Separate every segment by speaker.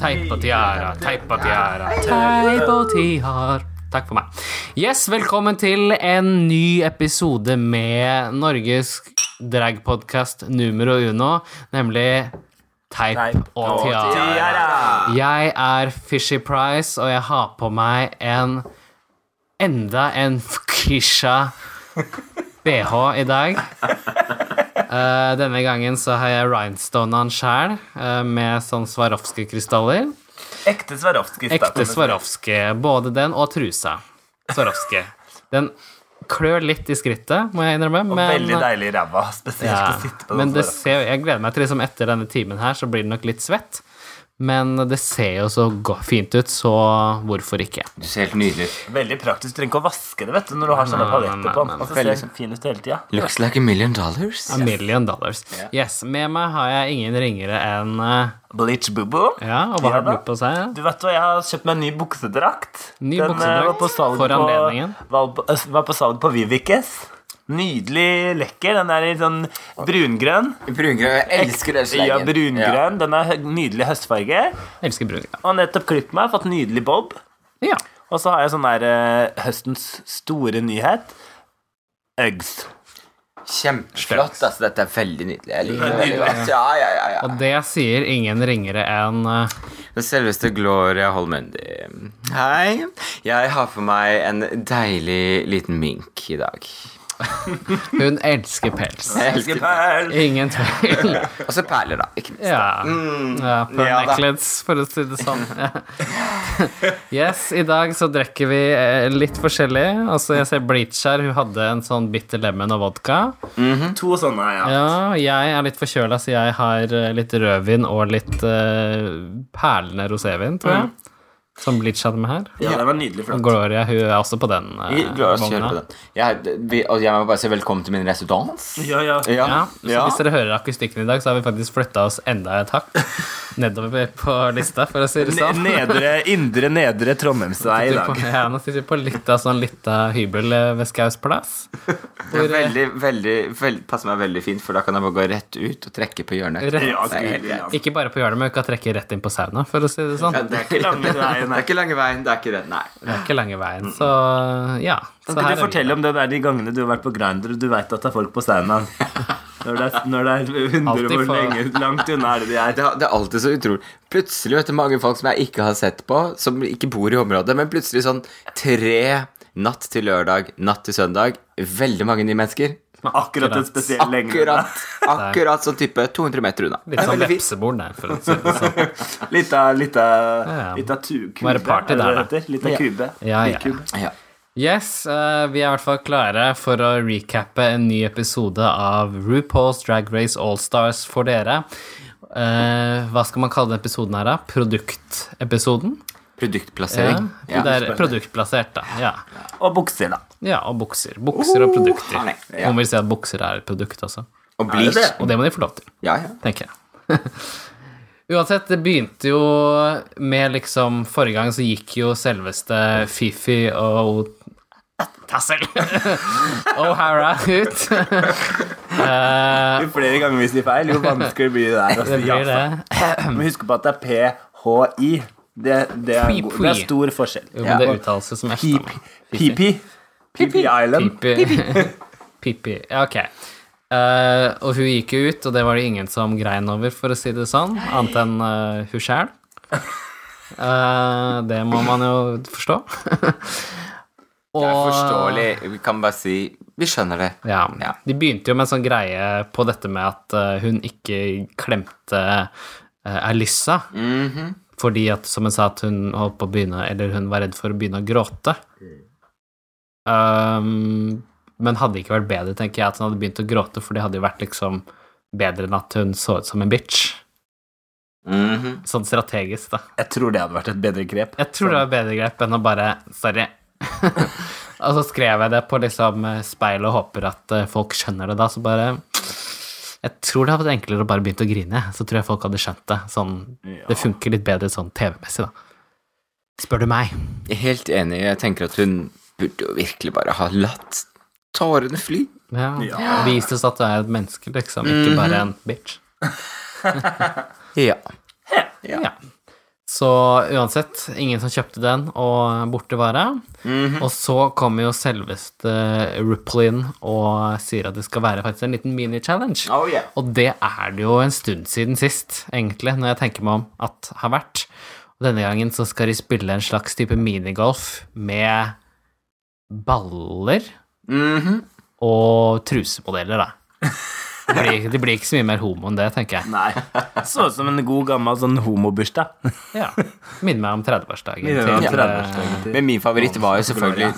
Speaker 1: Teip og tiara, teip og tiara, teip og tiara. Takk for meg. Yes, velkommen til en ny episode med Norges dragpodkast numero uno, nemlig Teip og tiara. Jeg er Fishy Price, og jeg har på meg en enda en fuksha BH i dag. Eh, denne gangen så har jeg rhinestonen sjæl, eh, med sånn Swarovski-krystaller.
Speaker 2: Ekte Swarovski.
Speaker 1: Ekte Swarovski. Både den og trusa. Swarovski. Den klør litt i skrittet, må jeg innrømme.
Speaker 2: Veldig deilig i ræva, spesielt
Speaker 1: ja,
Speaker 2: å sitte på
Speaker 1: men
Speaker 2: den.
Speaker 1: det
Speaker 2: Swarovski.
Speaker 1: ser, jeg gleder meg til liksom etter denne timen her, så blir det nok litt svett. Men det ser jo så go- fint ut, så hvorfor ikke?
Speaker 3: Du ser helt nydelig ut.
Speaker 2: Veldig praktisk. Du trenger ikke å vaske det vet du, når du har sånne
Speaker 1: Nei, nei, nei,
Speaker 2: paletter på.
Speaker 1: nei,
Speaker 2: den.
Speaker 1: nei.
Speaker 2: Altså, ser liksom fin ut hele tida.
Speaker 3: Looks like a million dollars.
Speaker 1: A million dollars. Yes, Med meg har jeg ingen ringere enn eh,
Speaker 2: Bleach bubo.
Speaker 1: Ja, og hva har
Speaker 2: Ja da.
Speaker 1: du på seg?
Speaker 2: Du vet hva, Jeg har kjøpt meg en ny buksedrakt.
Speaker 1: Ny
Speaker 2: den eh,
Speaker 1: buksedrakt
Speaker 2: var på salg
Speaker 1: for
Speaker 2: på-
Speaker 1: anledningen.
Speaker 2: Var på, eh, var på salg på Vivikes. Nydelig lekker. Den er i sånn brungrønn.
Speaker 3: Brungrønn. Jeg elsker den slangen.
Speaker 2: Ja, brungrønn. Den er hø- nydelig høstfarge.
Speaker 1: Jeg elsker brun.
Speaker 2: Og nettopp klippet meg. Fått nydelig bob.
Speaker 1: Ja.
Speaker 2: Og så har jeg sånn der eh, høstens store nyhet. Uggs.
Speaker 3: Ja. Kjempeflott. altså Dette er veldig nydelig. Jeg liker det veldig godt. Ja, ja, ja, ja.
Speaker 1: Og det sier ingen ringere enn eh,
Speaker 3: Den selveste Gloria Holmendi. Hei. Jeg har på meg en deilig liten mink i dag.
Speaker 1: Hun elsker pels.
Speaker 3: Jeg elsker
Speaker 1: Ingen tvil.
Speaker 3: Og så perler, da. Ikke minst.
Speaker 1: Ja. ja på
Speaker 3: Mm. ja da.
Speaker 1: necklets, for å si det sånn. Ja. Yes, i dag så drikker vi eh, litt forskjellig. Altså, jeg ser Bleach her, hun hadde en sånn bitter lemon og vodka.
Speaker 2: To sånne, ja.
Speaker 1: Ja, jeg er litt forkjøla, så jeg har eh, litt rødvin og litt eh, perlende rosévin, tror
Speaker 3: Mm.
Speaker 1: jeg. Som Bleach hadde med her.
Speaker 2: Ja, det var nydelig flott.
Speaker 1: Og Gloria, hun er også på den eh,
Speaker 3: Vi lar oss kjøre
Speaker 1: vogna.
Speaker 3: på den. Jeg, vi, og jeg må bare si velkommen til min residens.
Speaker 2: Ja, ja.
Speaker 1: Ja, så
Speaker 3: ja.
Speaker 1: hvis dere hører akustikken i dag, så har vi faktisk flytta oss enda et hakk nedover på lista, for å si det
Speaker 2: Ne-
Speaker 1: sånn.
Speaker 2: Nedre, indre nedre Trondheimsvei i dag.
Speaker 1: På- Ja, nå sitter vi på litt av sånn lita hybel eh, ved Skaus plass.
Speaker 3: Det er veldig, veldig, veldig, passer meg veldig fint, for da kan jeg bare gå rett ut og trekke på hjørnet.
Speaker 1: Rett,
Speaker 2: Ja,
Speaker 3: Det er helt-
Speaker 2: gud, ja.
Speaker 1: ikke bare på hjørnet, men vi kan trekke rett inn på sauna, for å si det sånn.
Speaker 3: Ja, det er ikke
Speaker 2: Lange
Speaker 3: lange
Speaker 2: veien,
Speaker 3: veien.
Speaker 2: nei.
Speaker 3: Det er ikke lange veien, det er ikke det. Nei.
Speaker 1: Det er ikke lange veien, så ja. Så her er
Speaker 2: Kan ikke du
Speaker 1: vi da.
Speaker 2: fortelle om det der de gangene du har vært på Grindr og du veit at det er folk på saunaen? Når, det er- når det er 100
Speaker 1: Altid
Speaker 2: hvor
Speaker 1: for-
Speaker 2: lenge, langt unna er det de er.
Speaker 3: Det, det er alltid så utrolig. Plutselig vet du mange folk som jeg ikke har sett på, som ikke bor i området, men plutselig sånn tre natt til lørdag, natt til søndag, veldig mange nye mennesker.
Speaker 2: Akkurat en spesiell lengde.
Speaker 3: Akkurat, akkurat sånn type 200 meter unna.
Speaker 1: Litt sånn
Speaker 3: Det er veldig fint.
Speaker 1: vepsebord der, for å si det sånn.
Speaker 2: Litt av, litt
Speaker 1: Ja, ja.
Speaker 2: av, litt av tu- kube.
Speaker 1: Bare party
Speaker 2: er det
Speaker 1: der,
Speaker 2: det
Speaker 1: da.
Speaker 2: heter? Litt av
Speaker 3: Ja.
Speaker 2: kube.
Speaker 1: Ja, ja.
Speaker 2: Bikube.
Speaker 3: Ja.
Speaker 1: Yes, eh, vi er i hvert fall klare for å recappe en ny episode av RuPaul's Drag Race Allstars for dere. Eh, hva skal man kalle den episoden her, da? Produktepisoden? Ja,
Speaker 3: Produktplassering.
Speaker 1: det er produktplassert, da. Ja.
Speaker 2: Og bukser, da.
Speaker 1: ja, og bukser. Bukser og produkter.
Speaker 3: nei, ja.
Speaker 1: Noen vil si at bukser er et produkt også.
Speaker 3: Og bleach.
Speaker 2: det?
Speaker 1: Og det må de få lov til,
Speaker 3: Ja, ja.
Speaker 1: tenker jeg. Uansett, det begynte jo med liksom Forrige gang så gikk jo selveste Fifi og Tassel O'Hara ut.
Speaker 2: Jo flere ganger vi sier feil, jo vanskeligere blir det der. å
Speaker 1: Det
Speaker 2: si,
Speaker 1: blir
Speaker 2: altså.
Speaker 1: det.
Speaker 2: Men husk på at det er PHI. Det, det, er,
Speaker 1: Phi,
Speaker 2: go-
Speaker 1: phi.
Speaker 2: det er stor forskjell.
Speaker 1: Jo, men det uttales jo som efternavn.
Speaker 2: PP. PP Island.
Speaker 1: Pippi. Pippi. Ja, ok. Eh, og hun gikk jo ut, og det var det ingen som grein over, for å si det sånn, annet enn eh, hun sjæl. Eh, det må man jo forstå. og,
Speaker 3: Det er forståelig. Vi kan bare si Vi skjønner det.
Speaker 1: Ja,
Speaker 3: Ja.
Speaker 1: De begynte jo med en sånn greie på dette med at eh, hun ikke klemte uh, Alyssa.
Speaker 3: Mhm.
Speaker 1: Fordi at, som hun sa, at hun holdt på å begynne Eller hun var redd for å begynne å gråte. Um, men hadde ikke vært bedre, tenker jeg, at hun hadde begynt å gråte, for det hadde jo vært liksom bedre enn at hun så ut som en bitch.
Speaker 3: Mhm.
Speaker 1: Sånn strategisk, da.
Speaker 2: Jeg tror det hadde vært et bedre grep.
Speaker 1: Jeg tror det var bedre grep enn å bare Sorry. og så skrev jeg det på liksom eh, speil og håper at eh, folk skjønner det da, så bare Jeg tror det hadde vært enklere å bare begynne å grine. Så tror jeg folk hadde skjønt det. Sånn, Det funker litt bedre sånn TV-messig, da. Spør du meg.
Speaker 3: Jeg er Helt enig. Jeg tenker at hun burde jo virkelig bare ha latt tårene fly.
Speaker 1: Ja. Vis oss at du er et menneske, liksom, ikke bare en bitch.
Speaker 3: Ja.
Speaker 1: Ja. Så uansett, ingen som kjøpte den, og borte var det. Og så kommer jo selveste Ruplin og sier at det skal være faktisk en liten mini-challenge.
Speaker 2: Oh, yeah.
Speaker 1: Og det er det jo en stund siden sist, egentlig, når jeg tenker meg om at har vært. Og denne gangen så skal de spille en slags type minigolf med baller
Speaker 2: Mhm.
Speaker 1: og trusemodeller, da. Det blir, det blir ikke så mye mer homo enn det, tenker jeg.
Speaker 2: Nei. Så ut som en god gammel sånn homobursdag.
Speaker 1: Ja. Minner meg om 30-årsdagen.
Speaker 2: Minner meg om
Speaker 1: til, eh,
Speaker 2: 30-årsdagen til-
Speaker 3: Men min favoritt var jo selvfølgelig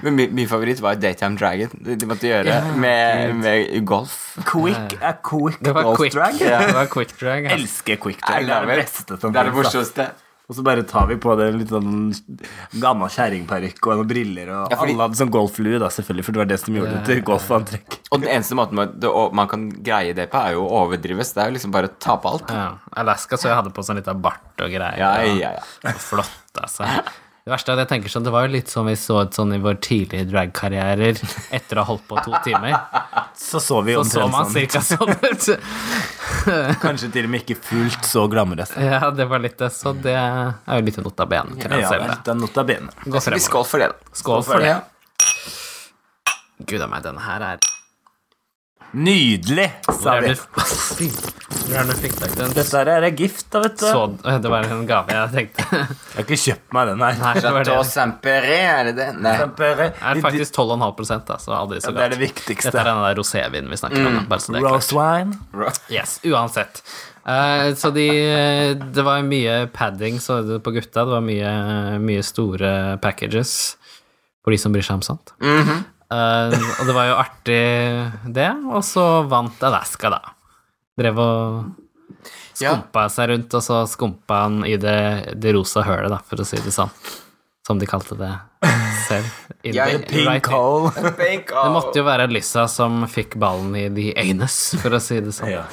Speaker 3: Men min, min favoritt var jo Daytime Dragon. De de måtte gjøre med, med golf.
Speaker 2: Quick er quick
Speaker 1: Det var
Speaker 2: golf
Speaker 1: quick
Speaker 2: drag.
Speaker 1: drag. Det var quick drag altså.
Speaker 2: Elsker quick
Speaker 3: I
Speaker 2: drag. Det er
Speaker 3: love
Speaker 2: det
Speaker 3: it.
Speaker 2: beste som
Speaker 3: Det er det
Speaker 2: finnes, da.
Speaker 3: morsomste.
Speaker 2: Og så bare tar vi på det litt sånn gammel kjerringparykk og noen briller. Og
Speaker 3: Ja, fordi-
Speaker 2: alle hadde sånn golflue, da, selvfølgelig, for det var det som gjorde det til golfantrekk.
Speaker 3: Og den eneste måten man, det, å- man kan greie det på, er jo å overdrives. Det er jo liksom bare å ta på alt.
Speaker 1: Ja. Alaska så jeg hadde på sånn liten bart og greier.
Speaker 3: Ja, ja, ja.
Speaker 1: Og flott, altså. Det verste er at jeg tenker sånn, det var jo litt som vi så ut sånn i våre tidlige dragkarrierer etter å ha holdt på to timer.
Speaker 2: Så så vi
Speaker 1: Så så
Speaker 2: omtrent
Speaker 1: man
Speaker 2: sånn.
Speaker 1: cirka sånn ut.
Speaker 2: Kanskje til og med ikke fullt så glamorøst.
Speaker 1: Ja, det var litt det. Så det er jo litt nota bene til oss
Speaker 2: Ja,
Speaker 1: selv.
Speaker 2: litt av nota bene.
Speaker 1: Gå
Speaker 3: Vi
Speaker 1: fremover.
Speaker 3: skål for det, da.
Speaker 1: Skål for det.
Speaker 3: Ja.
Speaker 1: Gud a meg, denne her er
Speaker 2: Nydelig,
Speaker 1: Hvor
Speaker 2: sa
Speaker 1: er
Speaker 2: vi.
Speaker 1: det Fy, Hvor er det du fikk tak i den?
Speaker 2: Dette her er gift, da, vet du.
Speaker 1: Så, eh, det var en gave jeg tenkte.
Speaker 2: Jeg har ikke kjøpt meg den her.
Speaker 1: Nei, det var det.
Speaker 3: Chateau Saint-Péret, er det det? Nei.
Speaker 2: Kjempe-
Speaker 1: er faktisk 12,5 da, så aldri så
Speaker 2: Det er
Speaker 1: galt.
Speaker 2: det
Speaker 1: Dette er
Speaker 2: viktigste. Mm.
Speaker 1: den der rosévinen vi snakker om. da, Bare så det er klart.
Speaker 2: Rose wine.
Speaker 1: Yes, uansett. Eh, så de Det var mye padding så det på gutta. Det var mye, mye store packages for de som bryr seg om sånt.
Speaker 3: Mhm.
Speaker 1: Eh, og det var jo artig, det. Og så vant Alaska, da. Drev og
Speaker 3: Ja.
Speaker 1: skumpa seg rundt, og så skumpa han i det, det rosa hølet, da, for å si det sånn. Som de kalte det selv. In
Speaker 3: Ja,
Speaker 1: the-
Speaker 3: the
Speaker 1: right
Speaker 2: Pink
Speaker 1: in-
Speaker 2: hole.
Speaker 1: det måtte jo være Lyssa som fikk ballen i the anus, for å si det sånn.
Speaker 2: Ja.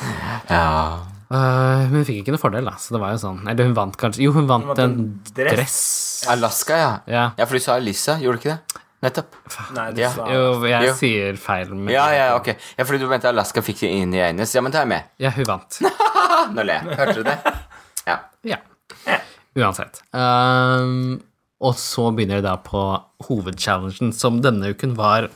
Speaker 3: Ja.
Speaker 1: Eh, men hun fikk ikke noe fordel, da. Så det var jo sånn Eller hun vant kanskje Jo, hun vant,
Speaker 2: vant
Speaker 1: en,
Speaker 2: en dress.
Speaker 1: dress.
Speaker 3: Alaska, ja.
Speaker 1: Ja.
Speaker 3: Ja, for du sa Alyssa, gjorde du ikke det? Nettopp.
Speaker 2: Nei, du
Speaker 3: Ja.
Speaker 2: sa
Speaker 1: Jo, jeg
Speaker 3: Jo.
Speaker 1: sier feil, men
Speaker 3: Ja, ja, ok. Ja, fordi du mente Alaska fikk det inn i Eines. Ja, men ta med.
Speaker 1: Ja, hun vant.
Speaker 3: Ah, Nå ler jeg. Hørte du det? Ja.
Speaker 1: Ja. Uansett. Ehm, og så begynner vi da på hovedchallengen, som denne uken var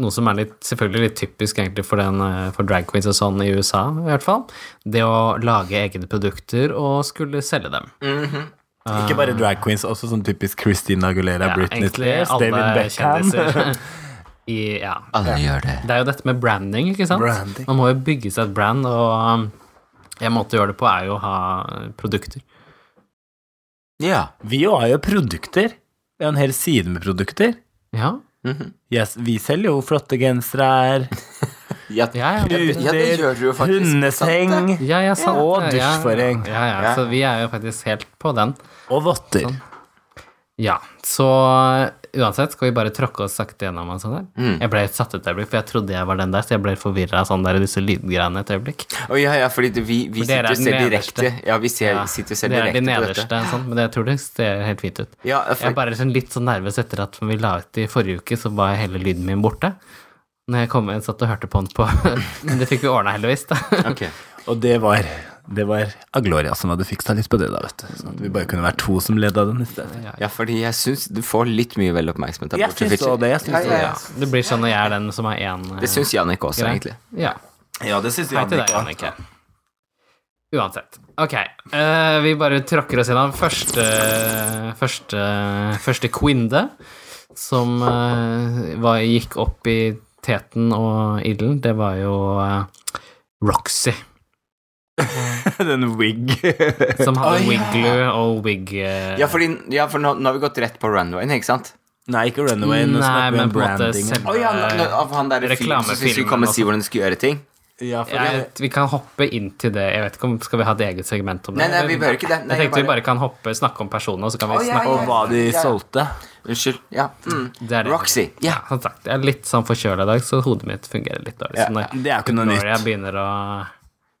Speaker 1: noe som er litt, selvfølgelig litt typisk egentlig for, den, eh, for drag queens og sånn i USA, i hvert fall. Det å lage egne produkter og skulle selge dem.
Speaker 2: Ikke bare drag queens, også sånn typisk Christina Aguilera,
Speaker 1: Ja,
Speaker 2: Britney
Speaker 1: egentlig
Speaker 2: Spears, David
Speaker 1: alle
Speaker 2: Beckham.
Speaker 1: kjendiser. I, ja,
Speaker 3: Alle gjør det.
Speaker 1: Det er jo dette med branding, ikke sant?
Speaker 2: Branding.
Speaker 1: Man må jo bygge seg et brand, og um, en måte å gjøre det på er jo å ha eh, produkter.
Speaker 3: Ja.
Speaker 2: Vi jo har jo produkter. Vi har en hel side med produkter.
Speaker 1: Ja, Mhm.
Speaker 2: Yes, vi selger jo flotte gensere her.
Speaker 3: Ja,
Speaker 1: ja, ja, det-
Speaker 3: Ja, det gjør du jo faktisk. Sant
Speaker 2: Hundeseng
Speaker 1: ja, ja sant.
Speaker 2: Og
Speaker 1: det, ja.
Speaker 2: dusjforheng.
Speaker 1: Ja, ja,
Speaker 3: Ja.
Speaker 1: så vi er jo faktisk helt på den.
Speaker 2: og votter.
Speaker 1: Ja, så uh, uansett skal vi bare tråkke oss sakte gjennom en sånn der. Jeg ble helt satt ut et øyeblikk, for jeg trodde jeg var den der, så jeg ble forvirra sånn der i disse lydgreiene et øyeblikk.
Speaker 3: Å, ja, ja, fordi det- vi, vi
Speaker 1: For dere er
Speaker 3: sitter jo
Speaker 1: den
Speaker 3: selv
Speaker 1: nederste.
Speaker 3: direkte. Ja, vi ser,
Speaker 1: Ja,
Speaker 3: sitter jo selv
Speaker 1: det er
Speaker 3: direkte
Speaker 1: de
Speaker 3: på
Speaker 1: nederste,
Speaker 3: dette.
Speaker 1: sånn, men jeg tror det ser helt fint ut.
Speaker 3: Ja,
Speaker 1: Jeg er
Speaker 3: for,
Speaker 1: bare sånn litt sånn nervøs etter at vi la ut i forrige uke, så var hele lyden min borte. Når jeg kom jeg satt og hørte på den på Men det fikk vi ordna, heldigvis. da.
Speaker 3: ok.
Speaker 2: Og det var, det var Agloria som hadde fiksa litt på det, da, vet du. Sånn at vi bare kunne være to som leda den i stedet.
Speaker 3: ja, fordi jeg syns du får litt mye vel oppmerksomhet der
Speaker 2: Jeg
Speaker 3: borte,
Speaker 2: syns
Speaker 3: Fitcher.
Speaker 2: også det, jeg syns
Speaker 3: ja,
Speaker 2: også
Speaker 3: ja, ja.
Speaker 1: Ja, det blir sånn når jeg er den som er én
Speaker 3: Det syns Jannik også, egentlig.
Speaker 1: Ja.
Speaker 2: Ja, det syns
Speaker 1: Hei til deg, Jannicke. Uansett. Ok, eh, vi bare tråkker oss gjennom første, første, første quinde, som eh, var, gikk opp i teten og ilden. Det var jo eh, Roxy.
Speaker 2: Den wig.
Speaker 1: Som hadde
Speaker 3: Oi.
Speaker 1: Wiggler og Wig eh,
Speaker 3: Ja, fordi, ja for nå, nå har vi gått rett på runwayen, ikke sant?
Speaker 2: Nei, ikke Runaway. Nå
Speaker 1: Nei,
Speaker 2: snakker vi
Speaker 1: men
Speaker 2: om
Speaker 1: på en måte
Speaker 2: brandingen.
Speaker 1: selv-
Speaker 3: Å ja, nå- nå- av han derre fyren som syns vi
Speaker 1: Eh, Reklamefilmen
Speaker 3: kommer og sier
Speaker 1: også.
Speaker 3: hvordan du skal gjøre ting.
Speaker 2: Ja, for
Speaker 1: jeg, Vi kan hoppe inn til det. Jeg vet ikke om Skal vi ha et eget segment om det?
Speaker 3: Nei, nei, vi
Speaker 1: eller?
Speaker 3: behøver ikke det. Nei,
Speaker 1: jeg tenkte
Speaker 3: bare-
Speaker 1: vi bare kan hoppe, snakke om personer, og så kan vi
Speaker 3: Å, ja,
Speaker 1: snakke
Speaker 2: Og hva de
Speaker 3: Ja.
Speaker 2: solgte.
Speaker 3: Unnskyld. Ja. Mm.
Speaker 1: Det er det.
Speaker 3: Roxy. Ja.
Speaker 1: Som sagt, jeg er litt sånn forkjøla i dag, så hodet mitt fungerer litt dårlig.
Speaker 3: Ja,
Speaker 1: så når,
Speaker 2: Det er jo ikke noe
Speaker 1: når jeg
Speaker 2: nytt.
Speaker 1: begynner å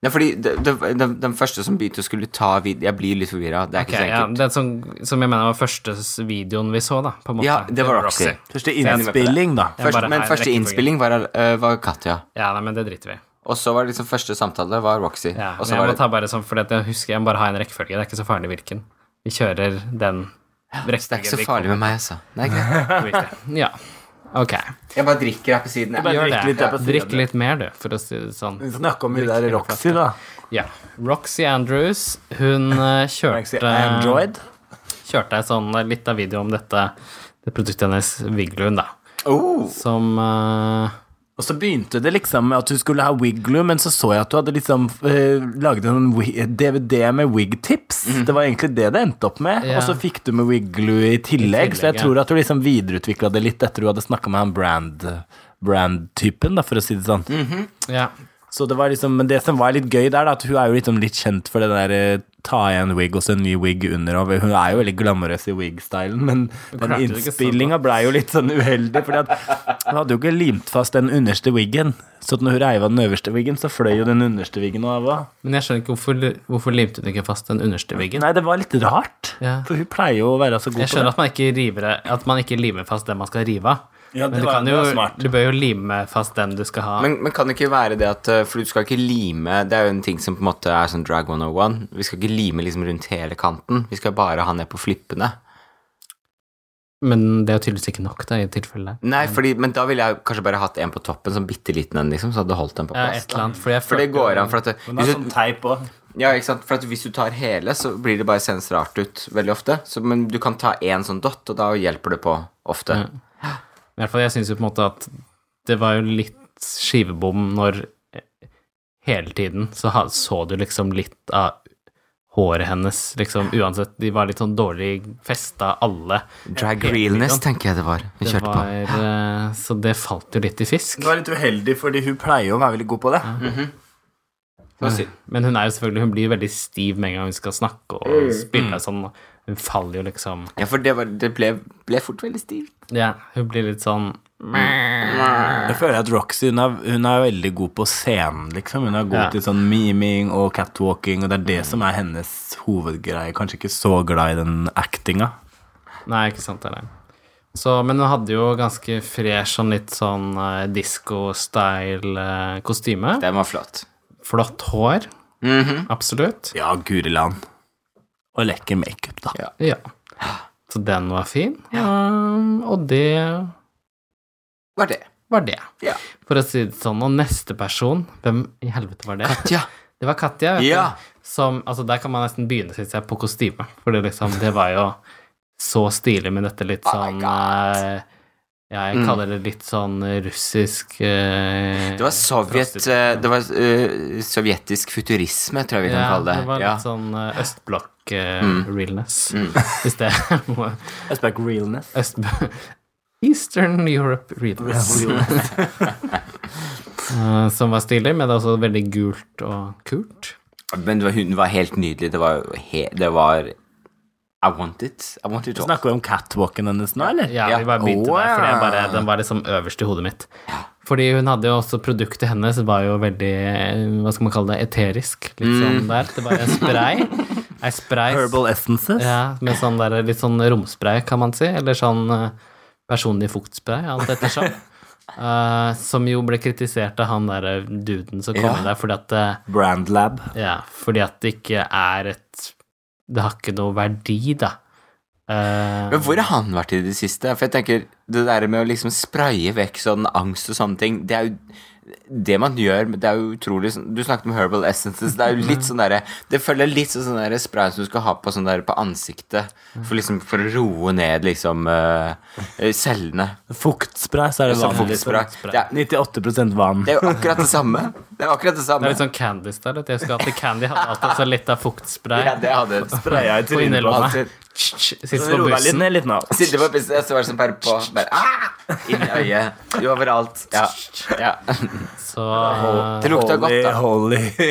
Speaker 3: Nei, fordi det- det- den, den første som begynte å skulle ta vid... Jeg blir litt forvirra. Det er
Speaker 1: Ok,
Speaker 3: ikke så
Speaker 1: ja,
Speaker 3: enkelt.
Speaker 1: Den som, som jeg mener var første s- videoen vi så, da. På en måte.
Speaker 3: Ja, det var Roxy.
Speaker 2: Første
Speaker 3: med på det.
Speaker 2: innspilling, da.
Speaker 1: Jeg
Speaker 3: Først,
Speaker 1: bare
Speaker 3: men
Speaker 1: har en
Speaker 3: første
Speaker 1: rekkefølge.
Speaker 3: innspilling var, øh, var Katja.
Speaker 1: Ja, nei, men det driter vi i.
Speaker 3: Og så var det liksom første samtale var Roxy.
Speaker 1: Ja,
Speaker 3: og
Speaker 1: men
Speaker 3: så
Speaker 1: jeg
Speaker 3: var
Speaker 1: må
Speaker 3: det
Speaker 1: ta bare sånn, fordi at jeg husker jeg må bare ha en rekkefølge. Det er ikke så farlig hvilken. Vi kjører den rekkefølgen.
Speaker 3: Det er ikke
Speaker 1: vi
Speaker 3: så farlig med meg, altså. Nei, greit.
Speaker 1: kommer til. Ja. Ok,
Speaker 3: Jeg bare drikker her på siden. Jeg.
Speaker 1: gjør
Speaker 2: drikk
Speaker 1: det.
Speaker 2: litt der på siden.
Speaker 1: Drikk litt mer, du, for å si det sånn.
Speaker 2: Vi snakker om hun der Roxy, da.
Speaker 1: Ja. Roxy Andrews, hun eh,
Speaker 2: Roxy
Speaker 1: kjørte
Speaker 2: Android.
Speaker 1: kjørte ei sånn eh, litt av video om dette det produktet hennes, Viglund, da,
Speaker 3: Oh,
Speaker 1: som eh,
Speaker 2: Og så begynte det liksom med at du skulle ha Wigloo, men så så jeg at du hadde liksom eh, laget en wi- DVD med wig-tips. Det var egentlig det det endte opp med.
Speaker 1: Mhm. Ja.
Speaker 2: Og så fikk du med Wigloo i tillegg,
Speaker 1: tillegg,
Speaker 2: så jeg
Speaker 1: ja.
Speaker 2: tror at du liksom videreutvikla det litt etter du hadde snakka med han brand brand-typen, da, for å si det sånn.
Speaker 1: Ja.
Speaker 2: Så det var liksom, men det som var litt gøy der, da, at hun er jo liksom litt kjent for det der eh, ta igjen wig og så en ny wig under. Og hun er jo veldig glamorøs i wig-stylen, men den
Speaker 1: klarte det ikke sånn, da.
Speaker 2: innspillinga blei jo litt sånn uheldig. For hun hadde jo ikke limt fast den underste wiggen. Så at når hun reiv av den øverste wiggen, så fløy jo den underste wiggen av òg.
Speaker 1: Men jeg skjønner ikke hvorfor, hvorfor limte hun ikke fast den underste veggen.
Speaker 2: Nei, det var litt rart.
Speaker 1: Ja.
Speaker 2: For hun pleier jo å være så god
Speaker 1: Jeg
Speaker 2: på
Speaker 1: skjønner
Speaker 2: det.
Speaker 1: at man ikke, river, at man ikke limer fast den man skal rive av.
Speaker 2: Ja,
Speaker 1: Men
Speaker 2: det
Speaker 1: du,
Speaker 2: var,
Speaker 1: kan
Speaker 2: det
Speaker 1: jo,
Speaker 2: var smart.
Speaker 1: du bør jo lime fast den du skal ha.
Speaker 3: men, men kan det ikke være det at eh, For du skal ikke lime Det er jo en ting som på en måte er sånn drag 101. Vi skal ikke lime liksom rundt hele kanten. Vi skal bare ha ned på flippene.
Speaker 1: Men det er jo tydeligvis ikke nok, da, i tilfelle.
Speaker 3: Nei, fordi, men da ville jeg kanskje bare hatt en på toppen, sånn bitte liten en, liksom, så hadde holdt den på
Speaker 1: Ja,
Speaker 3: plass.
Speaker 1: et eller annet, for jeg
Speaker 3: For det
Speaker 1: følte-
Speaker 3: går an. For at det,
Speaker 2: Men det
Speaker 3: hvis
Speaker 2: er
Speaker 3: du,
Speaker 2: sånn teip òg.
Speaker 3: Ja, ikke sant? For at hvis du tar hele, så blir det bare sendes rart ut veldig ofte. Så, men du kan ta én sånn dott, og da hjelper det på ofte.
Speaker 1: I hvert fall, jeg syns jo på en måte at det var jo litt skivebom når eh, hele tiden så ha- så du liksom litt av håret hennes, liksom, uansett. De var litt sånn dårlig festa, alle.
Speaker 3: Drag realness,
Speaker 1: sant.
Speaker 3: tenker jeg det var. Vi
Speaker 1: Det
Speaker 3: kjørte
Speaker 1: var, eh, så det falt jo litt i fisk.
Speaker 2: Det var litt uheldig, fordi hun pleier jo å være veldig god på det.
Speaker 3: på. Så,
Speaker 1: Men hun er jo selvfølgelig, hun blir veldig stiv med en gang hun skal snakke
Speaker 2: Mm,
Speaker 1: og spille sånn. Hun faller jo liksom
Speaker 3: ja, for det, var, det ble, ble fort veldig stivt.
Speaker 1: Ja, hun blir litt sånn
Speaker 2: Jeg føler at Roxy hun er, hun er veldig god på scenen, liksom. Hun er god
Speaker 1: Ja.
Speaker 2: til sånn miming og catwalking, og det er det som er hennes hovedgreie. Kanskje ikke så glad i den actinga.
Speaker 1: Nei, ikke sant, det er det. Så, men hun hadde jo ganske fresh, sånn litt sånn uh, disko-style eh, kostyme.
Speaker 3: Den var flott. Mhm.
Speaker 1: Flott hår. Absolutt.
Speaker 2: Ja, guri land. Og lekker makeup, da.
Speaker 3: Ja.
Speaker 1: Ja. Så den var fin. Um, og det
Speaker 3: Var det.
Speaker 1: var det.
Speaker 3: Ja.
Speaker 1: For å si det sånn. Og neste person, hvem i helvete var det?
Speaker 3: Tja.
Speaker 1: Det var Katja. vet
Speaker 3: Ja.
Speaker 1: du, Som, altså der kan man nesten begynne synes jeg, på kostyme. For det, liksom, det var jo så stilig med dette litt
Speaker 3: Oh my
Speaker 1: sånn
Speaker 3: God.
Speaker 1: eh, Jeg kaller det litt sånn russisk eh,
Speaker 3: Det var sovjet
Speaker 1: prostitusjon.
Speaker 3: eh, Det var eh, sovjetisk futurisme, tror jeg vi kan
Speaker 1: Ja,
Speaker 3: kalle det.
Speaker 1: var litt
Speaker 3: ja. Mm.
Speaker 1: sånn eh, østblokk-realness. Hvis det er noe
Speaker 2: Aspect realness.
Speaker 1: øst, Eastern Europe realness. Eh, som var stilig, men det er også veldig gult og kult.
Speaker 3: Men det var, hun var helt nydelig. Det var, jo he, det var I want it. I want it all.
Speaker 2: Snakker vi om catwalken hennes nå, eller?
Speaker 1: Ja,
Speaker 3: Ja.
Speaker 1: vi bare begynte
Speaker 2: Åh,
Speaker 1: der, fordi jeg bare,
Speaker 2: ja.
Speaker 1: den var liksom øverst i hodet mitt. Fordi hun hadde jo også produktet hennes var jo veldig, eh, hva skal man kalle det, eterisk. Litt sånn der. Det var en spray. Ei spray
Speaker 2: Mm. Herbal essences.
Speaker 1: ja, med sånn der, litt sånn romspray, kan man si. Eller sånn eh, personlig fuktspray, alt ettersom. Eh, som jo ble kritisert av han der eh, duden som kom
Speaker 3: Ja.
Speaker 1: inn der, fordi at eh,
Speaker 2: Brandlab.
Speaker 1: ja, fordi at det ikke er et Det har ikke noe verdi, da. Eh,
Speaker 3: Men hvor har han vært i det siste? For jeg tenker, Det der med å liksom spraye vekk sånn angst og sånne ting, det er jo det man gjør men Det er jo utrolig sånn- Du snakket om herbal essences. Det er jo litt sånn derre Det følger litt sånn sånn derre spray som du skal ha på sånn der på ansiktet for liksom for å roe ned liksom eh, eh, cellene.
Speaker 2: Fuktspray, så er det
Speaker 3: Som
Speaker 2: vanlig.
Speaker 3: fuktspray. Det er,
Speaker 2: 98 vann.
Speaker 3: det er jo akkurat det samme. Det er jo akkurat det
Speaker 1: Det
Speaker 3: samme.
Speaker 1: er litt sånn Candy Style. at Jeg skulle hatt det Candy hadde alltid så litt av fuktspray.
Speaker 3: Ja, det hadde
Speaker 2: Spraya i
Speaker 1: På
Speaker 2: trynet på
Speaker 1: innerlomma.
Speaker 2: alt.
Speaker 3: alltid.
Speaker 1: Sitter på
Speaker 2: Ro deg litt
Speaker 1: bussen.
Speaker 2: ned litt nå.
Speaker 3: Sitte på pisset, så var det sånn bare på bare, ah! Inn i øyet. Overalt. Ja. ja.
Speaker 1: Så,
Speaker 3: Det lukta godt, da.
Speaker 2: Holy, holy.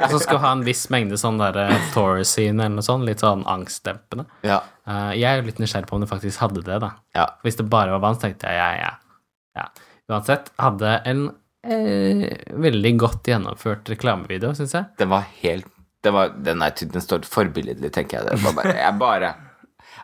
Speaker 1: og så skulle ha en viss mengde sånn der eh, Thorazine eller noe sånt. Litt sånn angstdempende.
Speaker 3: ja.
Speaker 1: Eh, jeg er jo litt nysgjerrig på om det faktisk hadde det, da.
Speaker 3: ja.
Speaker 1: Hvis det bare var vann, så tenkte jeg ja, ja. ja. Uansett, hadde en eh, veldig godt gjennomført reklamevideo, syns jeg.
Speaker 3: Den var helt den, var, den, er, den står forbilledlig, tenker jeg. Det var bare, jeg bare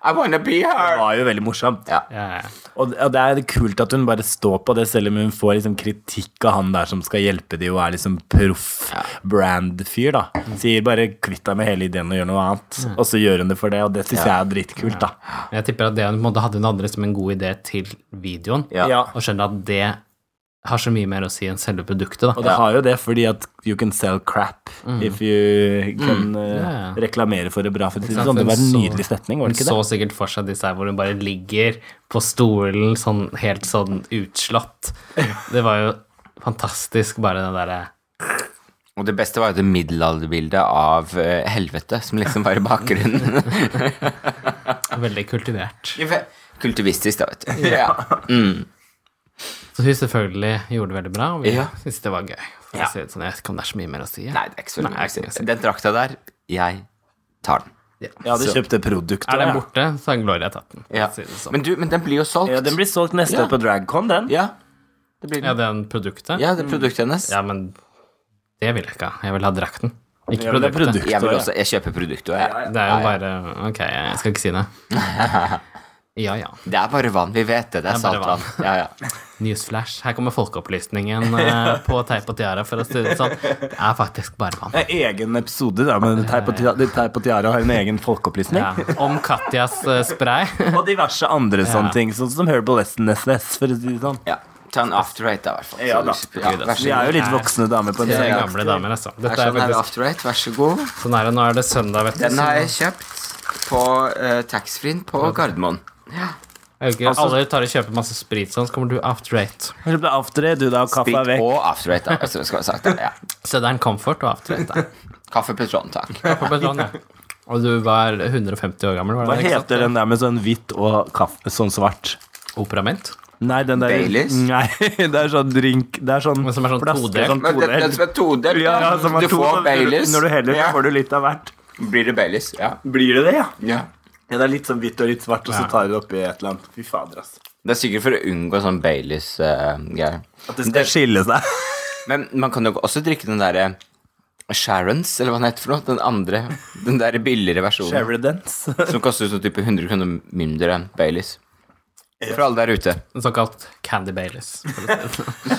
Speaker 3: I wanna be
Speaker 2: Det
Speaker 3: her!
Speaker 2: var jo veldig morsomt.
Speaker 3: Ja.
Speaker 1: Ja, ja.
Speaker 2: Og og det er kult at hun bare står på det, selv om hun får liksom kritikk av han der som skal hjelpe de og er liksom proff brand-fyr, da. Sier bare 'kvitt deg med hele ideen og gjør noe annet',
Speaker 1: Mm.
Speaker 2: og så gjør hun det for det, og det syns jeg er dritkult, da.
Speaker 1: Men Jeg tipper at det hun på en måte hadde hun andre som en god idé til videoen,
Speaker 3: Ja.
Speaker 2: Ja.
Speaker 1: og skjønner at det har så mye mer å si enn selve produktet,
Speaker 2: Og
Speaker 1: da.
Speaker 2: det har jo det fordi at you can sell crap if you kan eh,
Speaker 1: Mm. Ja, ja.
Speaker 2: reklamere for det bra. For det,
Speaker 1: sant,
Speaker 2: sånn, det var en
Speaker 1: så-
Speaker 2: nydelig setning, var
Speaker 1: Hun
Speaker 2: det ikke det?
Speaker 1: så sikkert for seg disse her hvor hun bare ligger på stolen sånn helt sånn utslått. Det var jo fantastisk, bare den eh, derre
Speaker 3: Og det beste var jo det middelalderbildet av eh, helvete, som liksom var i bakgrunnen.
Speaker 1: Veldig kultivert.
Speaker 3: Kultivistisk, da, vet du. Ja.
Speaker 1: Så hun selvfølgelig gjorde det veldig bra, og vi
Speaker 3: Ja.
Speaker 1: syntes det var gøy. For å si det sånn, jeg vet ikke om det er så mye mer å si. jeg.
Speaker 3: Nei, det er ikke så
Speaker 1: Nei, det
Speaker 3: mye å
Speaker 1: er ikke mye å
Speaker 3: si.
Speaker 1: si.
Speaker 3: Den drakta der, jeg tar den.
Speaker 2: Jeg hadde
Speaker 3: Så-
Speaker 2: kjøpt det produktet.
Speaker 1: Er den
Speaker 2: ja.
Speaker 1: borte, så har Gloria tatt den.
Speaker 3: Ja.
Speaker 1: for å si det sånn.
Speaker 3: Men, du, men den blir jo solgt.
Speaker 2: Ja, den blir solgt neste
Speaker 3: Ja.
Speaker 2: år på Dragcon, den.
Speaker 3: Ja, det blir
Speaker 1: Ja,
Speaker 3: den.
Speaker 1: den produktet?
Speaker 3: Ja, det er produktet hennes.
Speaker 1: Ja, men det vil jeg ikke ha. Jeg vil ha drakten. Ikke
Speaker 2: Ja, men det er
Speaker 1: produktet.
Speaker 2: produktet,
Speaker 3: Jeg vil
Speaker 2: ja.
Speaker 3: også, jeg kjøper produktet også, jeg.
Speaker 1: Det er jo bare Ok, jeg skal ikke si det. Ja ja.
Speaker 3: Det er bare vann, vi vet det. Det
Speaker 1: Det
Speaker 3: er
Speaker 1: er bare
Speaker 3: saltvann. Ja, ja.
Speaker 1: Newsflash. Her kommer folkeopplysningen eh, på teip og tiara, for å si det sånn. Det er faktisk bare vann.
Speaker 2: En egen episode da, med Teip og Tiara, Teip og Tiara har en egen folkeopplysning.
Speaker 1: Ja. Om Katjas eh, spray.
Speaker 2: Og diverse andre sånne ting, sånn som Herbal Essence, for å si det sånn.
Speaker 3: ja. Ta en after eight, da, i hvert fall.
Speaker 2: Ja, da.
Speaker 3: Så du- Ja, vær
Speaker 2: Vi
Speaker 3: så
Speaker 2: er
Speaker 3: god.
Speaker 2: jo litt voksne damer på en
Speaker 1: Det er
Speaker 2: gang.
Speaker 1: gamle damer, altså.
Speaker 3: Her
Speaker 1: Dette er
Speaker 3: sånn er det
Speaker 1: veldig,
Speaker 3: after eight, vær så god.
Speaker 1: sånn er det. Nå er det søndag, vet du.
Speaker 3: Den har
Speaker 1: så-
Speaker 3: jeg kjøpt på uh, taxfree-en på Gardermoen.
Speaker 1: Jeg vet ikke,
Speaker 2: Altså-
Speaker 1: Alle tar og kjøper masse sprit sånn, så kommer du after eight.
Speaker 2: Kjøp deg after eight, du da, og kaffe er
Speaker 3: Sprit
Speaker 2: vekk.
Speaker 3: og after eight, da. Altså, skal jeg ha sagt det. Ja.
Speaker 1: Sødderen Comfort og after eight. da.
Speaker 3: Kaffe Petron, takk.
Speaker 1: På Betlan, ja. Og du var 150 år gammel, var
Speaker 2: Hva
Speaker 1: det ikke sant?
Speaker 2: heter den der med sånn hvitt og kaffe, sånn svart?
Speaker 1: Operament?
Speaker 2: Nei, den der
Speaker 3: Baileys?
Speaker 2: Nei, det er sånn drink Det er sånn
Speaker 1: Men som er sånn todelt.
Speaker 2: sånn
Speaker 3: Men den, den som
Speaker 2: todelt.
Speaker 3: er todelt,
Speaker 2: Ja, ja, som er
Speaker 3: du
Speaker 2: to,
Speaker 3: får
Speaker 2: så
Speaker 3: Baileys.
Speaker 2: Når du heller,
Speaker 3: ja.
Speaker 2: så får du litt av hvert.
Speaker 3: Blir det Baileys? Ja.
Speaker 2: Blir det det, ja?
Speaker 3: ja.
Speaker 2: Ja, Det er litt sånn hvitt og litt svart, og så tar du det oppi et eller annet. Fy fader, altså.
Speaker 3: Det er sikkert for å unngå sånn Baileys-greier.
Speaker 2: At det skal skille seg.
Speaker 3: Men man kan jo også drikke den derre Sharons, eller hva den heter for noe. Den andre. Den der billigere versjonen.
Speaker 2: Sheridans.
Speaker 3: Som koster sånn type 100 kroner mindre enn Baileys. For alle der ute.
Speaker 1: En såkalt Candy Baileys. for å si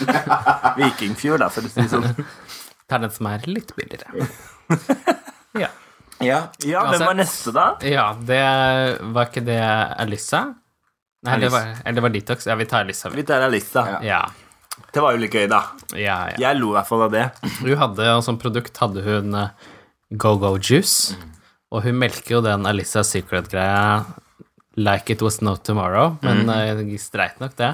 Speaker 1: det sånn.
Speaker 2: Vikingfjord, da, for å si det sånn.
Speaker 1: Det er den som er litt billigere. Ja.
Speaker 3: Ja.
Speaker 2: Ja, hvem var neste, da?
Speaker 1: ja, det var ikke det Alyssa? Nei, det var, eller det var Detox. Ja, vi tar Alyssa. vi.
Speaker 2: Vi tar Alissa.
Speaker 1: Ja,
Speaker 2: Det var jo litt gøy, da.
Speaker 1: ja, ja.
Speaker 2: Jeg lo i hvert fall av det.
Speaker 1: Hun hadde og som produkt hadde hun eh, Go-Go Juice,
Speaker 2: Mm.
Speaker 1: og hun melker jo den Alyssa Secret-greia like it was no tomorrow,
Speaker 2: Mm.
Speaker 1: men eh, streit nok det.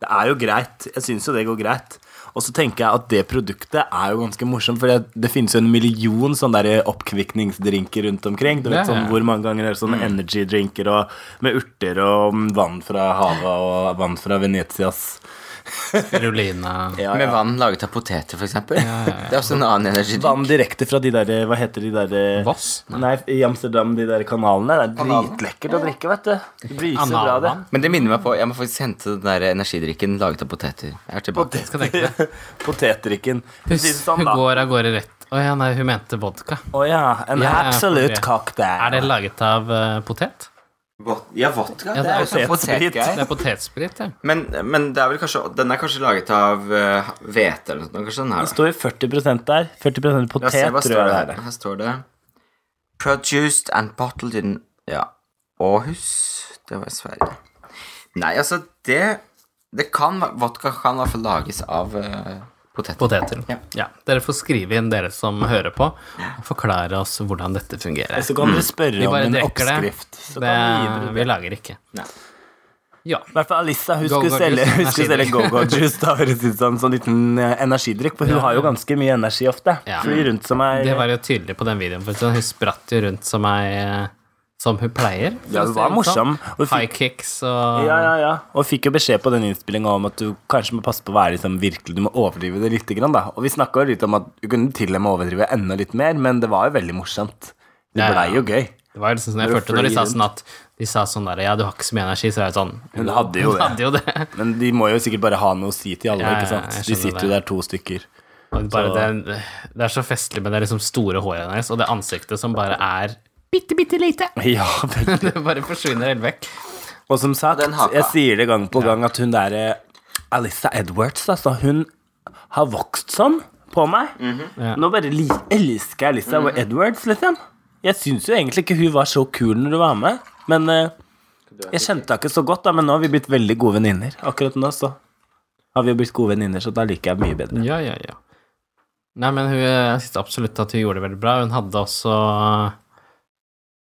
Speaker 2: Det er jo greit. Jeg syns jo det går greit. Og så tenker jeg at det produktet er jo ganske morsomt, for det, det finnes jo en million sånne der oppkvikningsdrinker rundt omkring. Du
Speaker 1: Ja,
Speaker 2: vet
Speaker 1: ja.
Speaker 2: sånn hvor mange ganger er det sånne energy-drinker og, med urter og mm, vann fra havet og vann fra Venetias
Speaker 1: Spirulina
Speaker 3: Med vann laget av poteter, for eksempel. Det er også en annen energi.
Speaker 2: Vann direkte fra de der Hva heter de der eh,
Speaker 1: Voss?
Speaker 2: Nei, i Amsterdam, de der kanalene. Det er dritlekkert å drikke, vet du. Det blir så bra, det.
Speaker 1: Analvann?
Speaker 3: Men det minner meg på Jeg må faktisk hente den der energidrikken laget av poteter. Jeg er tilbake.
Speaker 2: Potet-
Speaker 1: Skal tenke
Speaker 2: Potetdrikken. For å si det
Speaker 1: Hun,
Speaker 2: sånn,
Speaker 1: hun
Speaker 2: da.
Speaker 1: går av gårde rett Å ja, nei, hun mente vodka.
Speaker 2: Å ja. En
Speaker 1: Ja,
Speaker 2: absolute
Speaker 1: ok.
Speaker 2: cocktail.
Speaker 1: Er det laget av eh, potet?
Speaker 3: Vod- Ja, vodka.
Speaker 1: Ja,
Speaker 3: det er jo sånn
Speaker 2: potetsprit.
Speaker 1: Det
Speaker 3: potetgreier.
Speaker 1: er potetsprit, ja.
Speaker 3: Men, men det er vel kanskje, den er kanskje laget av eh, hvete eller noe sånt. Kanskje den her,
Speaker 2: Det
Speaker 3: da.
Speaker 2: står jo 40 der. 40
Speaker 3: La
Speaker 2: potet,
Speaker 3: oss se, hva
Speaker 2: tror
Speaker 3: står det
Speaker 2: jeg det
Speaker 3: her?
Speaker 2: er.
Speaker 3: Her står det Produced and bottled in Ja. Åhus. Det var i Sverige. Nei, altså, det Det kan være- Vodka kan i hvert fall lages av eh, poteter.
Speaker 1: Poteter.
Speaker 3: Ja.
Speaker 1: Ja. Dere får skrive inn, dere som hører på, og forklare oss hvordan dette fungerer.
Speaker 2: Så kan dere spørre
Speaker 1: Mm. Vi
Speaker 2: om
Speaker 1: bare
Speaker 2: en
Speaker 1: dekker det.
Speaker 2: oppskrift. Så
Speaker 1: Det,
Speaker 2: kan vi gi dere det.
Speaker 1: vi lager ikke.
Speaker 3: Nei.
Speaker 1: Ja.
Speaker 2: I hvert fall Alissa hun
Speaker 1: Go-Go
Speaker 2: skulle selge,
Speaker 1: juice,
Speaker 2: hun skulle selge
Speaker 1: energidrikk.
Speaker 2: go-go-juice. da høres ut som en sånn liten eh, energidrikk, for hun har jo ganske mye energi ofte.
Speaker 1: Ja.
Speaker 2: Flyr rundt som ei
Speaker 1: Det var jo tydelig på den videoen. For sånn, hun spratt jo rundt som ei eh, Som hun pleier. for
Speaker 2: Ja,
Speaker 1: å
Speaker 2: hun
Speaker 1: si
Speaker 2: var
Speaker 1: det
Speaker 2: morsom.
Speaker 1: sånn.
Speaker 2: Og
Speaker 1: High
Speaker 2: fikk,
Speaker 1: kicks og
Speaker 2: ja, ja, ja. og fikk jo beskjed på den innspillinga om at du kanskje må passe på å være liksom virkelig, du må overdrive det litt. Grann, da. Og vi snakka litt om at du kunne til og med overdrive enda litt mer, men det var jo veldig morsomt. Det
Speaker 1: Ja,
Speaker 2: blei
Speaker 1: ja.
Speaker 2: jo gøy.
Speaker 1: Det var liksom sånn jeg
Speaker 2: Når du
Speaker 1: følte når de
Speaker 2: flyr
Speaker 1: sa sånn at De sa sånn der Ja, du har ikke så mye energi, så er det sånn
Speaker 2: Hun hadde jo
Speaker 1: Hun
Speaker 2: det.
Speaker 1: hadde jo det.
Speaker 2: Men de må jo sikkert bare ha noe å si til alle,
Speaker 1: Ja, ja,
Speaker 2: ikke sant?
Speaker 1: jeg
Speaker 2: De
Speaker 1: skjønner
Speaker 2: sitter jo der to stykker.
Speaker 1: Og Bare det, det er så festlig med det liksom store håret hennes og det ansiktet som bare er bitte, bitte lite.
Speaker 2: Ja,
Speaker 1: Det
Speaker 2: veldig.
Speaker 1: bare forsvinner helt vekk.
Speaker 2: Og som sagt,
Speaker 3: den haka.
Speaker 2: jeg sier det gang på gang at hun der eh, Alyssa Edwards, altså, hun har vokst sånn på meg.
Speaker 1: Ja.
Speaker 2: Nå bare li elsker jeg Alyssa Edwards, liksom. Jeg syns jo egentlig ikke hun var så kul når du var med, men eh, jeg kjente henne ikke så godt, da, men nå har vi blitt veldig gode venninner. Akkurat nå så har vi jo blitt gode venninner, så da liker jeg mye bedre.
Speaker 1: Ja, ja, ja. Nei, men hun, jeg synes absolutt at hun gjorde det veldig bra. Hun hadde også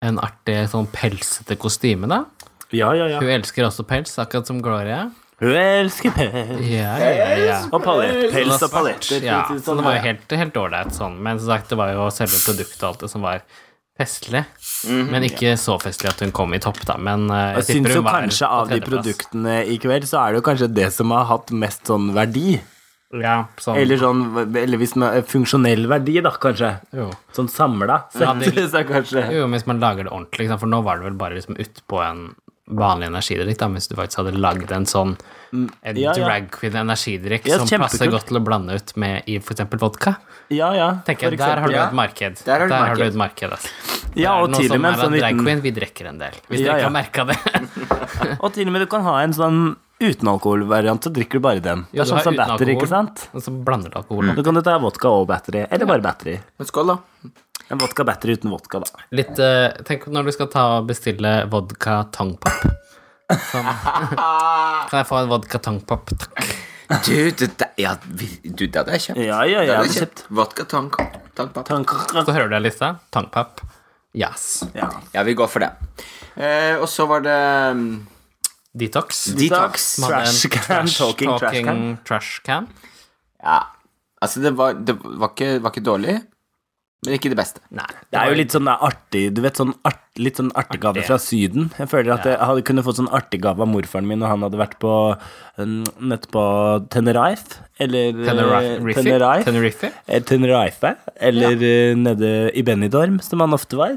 Speaker 1: en artig sånn pelsete kostyme, da.
Speaker 2: Ja, ja, ja.
Speaker 1: Hun elsker også pels, akkurat som Gloria.
Speaker 2: Hun elsker pels.
Speaker 1: Ja, ja, ja.
Speaker 2: Og Sånn palett. Pels og palletter.
Speaker 1: Ja,
Speaker 2: Litt
Speaker 1: så
Speaker 2: sånn
Speaker 1: det var jo
Speaker 2: her.
Speaker 1: helt, helt ålreit sånn, men som sagt, det var jo selve produktet og alt det som var festlig. Men ikke så festlig at hun kom i topp, da, men eh,
Speaker 2: Jeg
Speaker 1: jeg
Speaker 2: Mhm, syns
Speaker 1: tipper
Speaker 2: jo
Speaker 1: hun var
Speaker 2: kanskje av
Speaker 1: på
Speaker 2: de
Speaker 1: tredjeplass.
Speaker 2: produktene i kveld, så er det jo kanskje det som har hatt mest sånn verdi.
Speaker 1: Ja, sånn.
Speaker 2: Eller sånn eller hvis man, funksjonell verdi, da, kanskje.
Speaker 1: jo.
Speaker 2: Sånn samla
Speaker 1: Ja,
Speaker 2: sett,
Speaker 1: det-
Speaker 2: så kanskje.
Speaker 1: jo, men hvis man lager det ordentlig, ikke sant, for nå var det vel bare liksom utpå en vanlig energidrikk, da, mens du faktisk hadde lagd en sånn en
Speaker 2: Mm, ja, ja.
Speaker 1: drag queen energidrikk
Speaker 2: Ja,
Speaker 1: som passer
Speaker 2: kjempekult.
Speaker 1: godt til å blande ut med i for eksempel vodka.
Speaker 2: Ja, ja.
Speaker 1: Tenker
Speaker 2: for
Speaker 1: jeg, Der har du
Speaker 2: eksempel.
Speaker 1: et marked.
Speaker 3: Der har du et
Speaker 1: har du
Speaker 3: marked.
Speaker 1: et marked, altså. Er
Speaker 2: ja,
Speaker 1: det
Speaker 2: og
Speaker 1: noen
Speaker 2: til og
Speaker 1: som
Speaker 2: med
Speaker 1: er
Speaker 2: en sånn
Speaker 1: av drag
Speaker 2: liten
Speaker 1: queen, vi drikker en del. Hvis
Speaker 2: Ja,
Speaker 1: dere
Speaker 2: ja.
Speaker 1: ikke har merka det.
Speaker 2: Og til og med du kan ha en sånn uten alkoholvariant, så drikker du bare den.
Speaker 1: Jo,
Speaker 2: det er
Speaker 1: du har
Speaker 2: sånn som
Speaker 1: uten
Speaker 2: battery,
Speaker 1: alkohol.
Speaker 2: ikke sant?
Speaker 1: Og så blander du alkohol.
Speaker 2: Da kan du ta vodka og battery, eller bare battery.
Speaker 3: Men skål, da.
Speaker 2: En vodka battery uten vodka, da.
Speaker 1: Litt, eh, tenk når du skal ta og bestille vodka tangpop. Sånn.
Speaker 3: Ah.
Speaker 1: kan jeg få en vodka tangpop, takk?
Speaker 3: Du, det der Ja, vi- du, det hadde jeg kjøpt.
Speaker 2: Ja, ja,
Speaker 3: Det
Speaker 2: ja.
Speaker 3: hadde
Speaker 2: det
Speaker 3: jeg
Speaker 2: er
Speaker 3: kjøpt. Vodka tank. tank
Speaker 2: kjempe-
Speaker 1: Så hører du det, Lisa. Tangpop. Yes.
Speaker 2: Ja.
Speaker 3: Ja, vi går for det. Eh, og så var det mm,
Speaker 1: Detox.
Speaker 3: Detox.
Speaker 1: Som hadde en
Speaker 2: Trash can, talking trash
Speaker 1: talking
Speaker 2: can.
Speaker 1: trash can.
Speaker 3: Ja. Altså, det var, det var, ikke, var ikke dårlig, men ikke det beste.
Speaker 1: Nei.
Speaker 2: Det er jo litt sånn der artig Du vet, sånn art, litt sånn artig gave
Speaker 1: Artig.
Speaker 2: fra Syden. Jeg føler at jeg hadde kunne fått sånn artig gave av morfaren min når han hadde vært på mm, nettopp på Tenerife. Eller eh,
Speaker 1: Tenerife.
Speaker 2: Tenerife.
Speaker 1: Tenerife.
Speaker 2: Eh, Tenerife. Eller eh, nede i Benidorm, som han ofte var.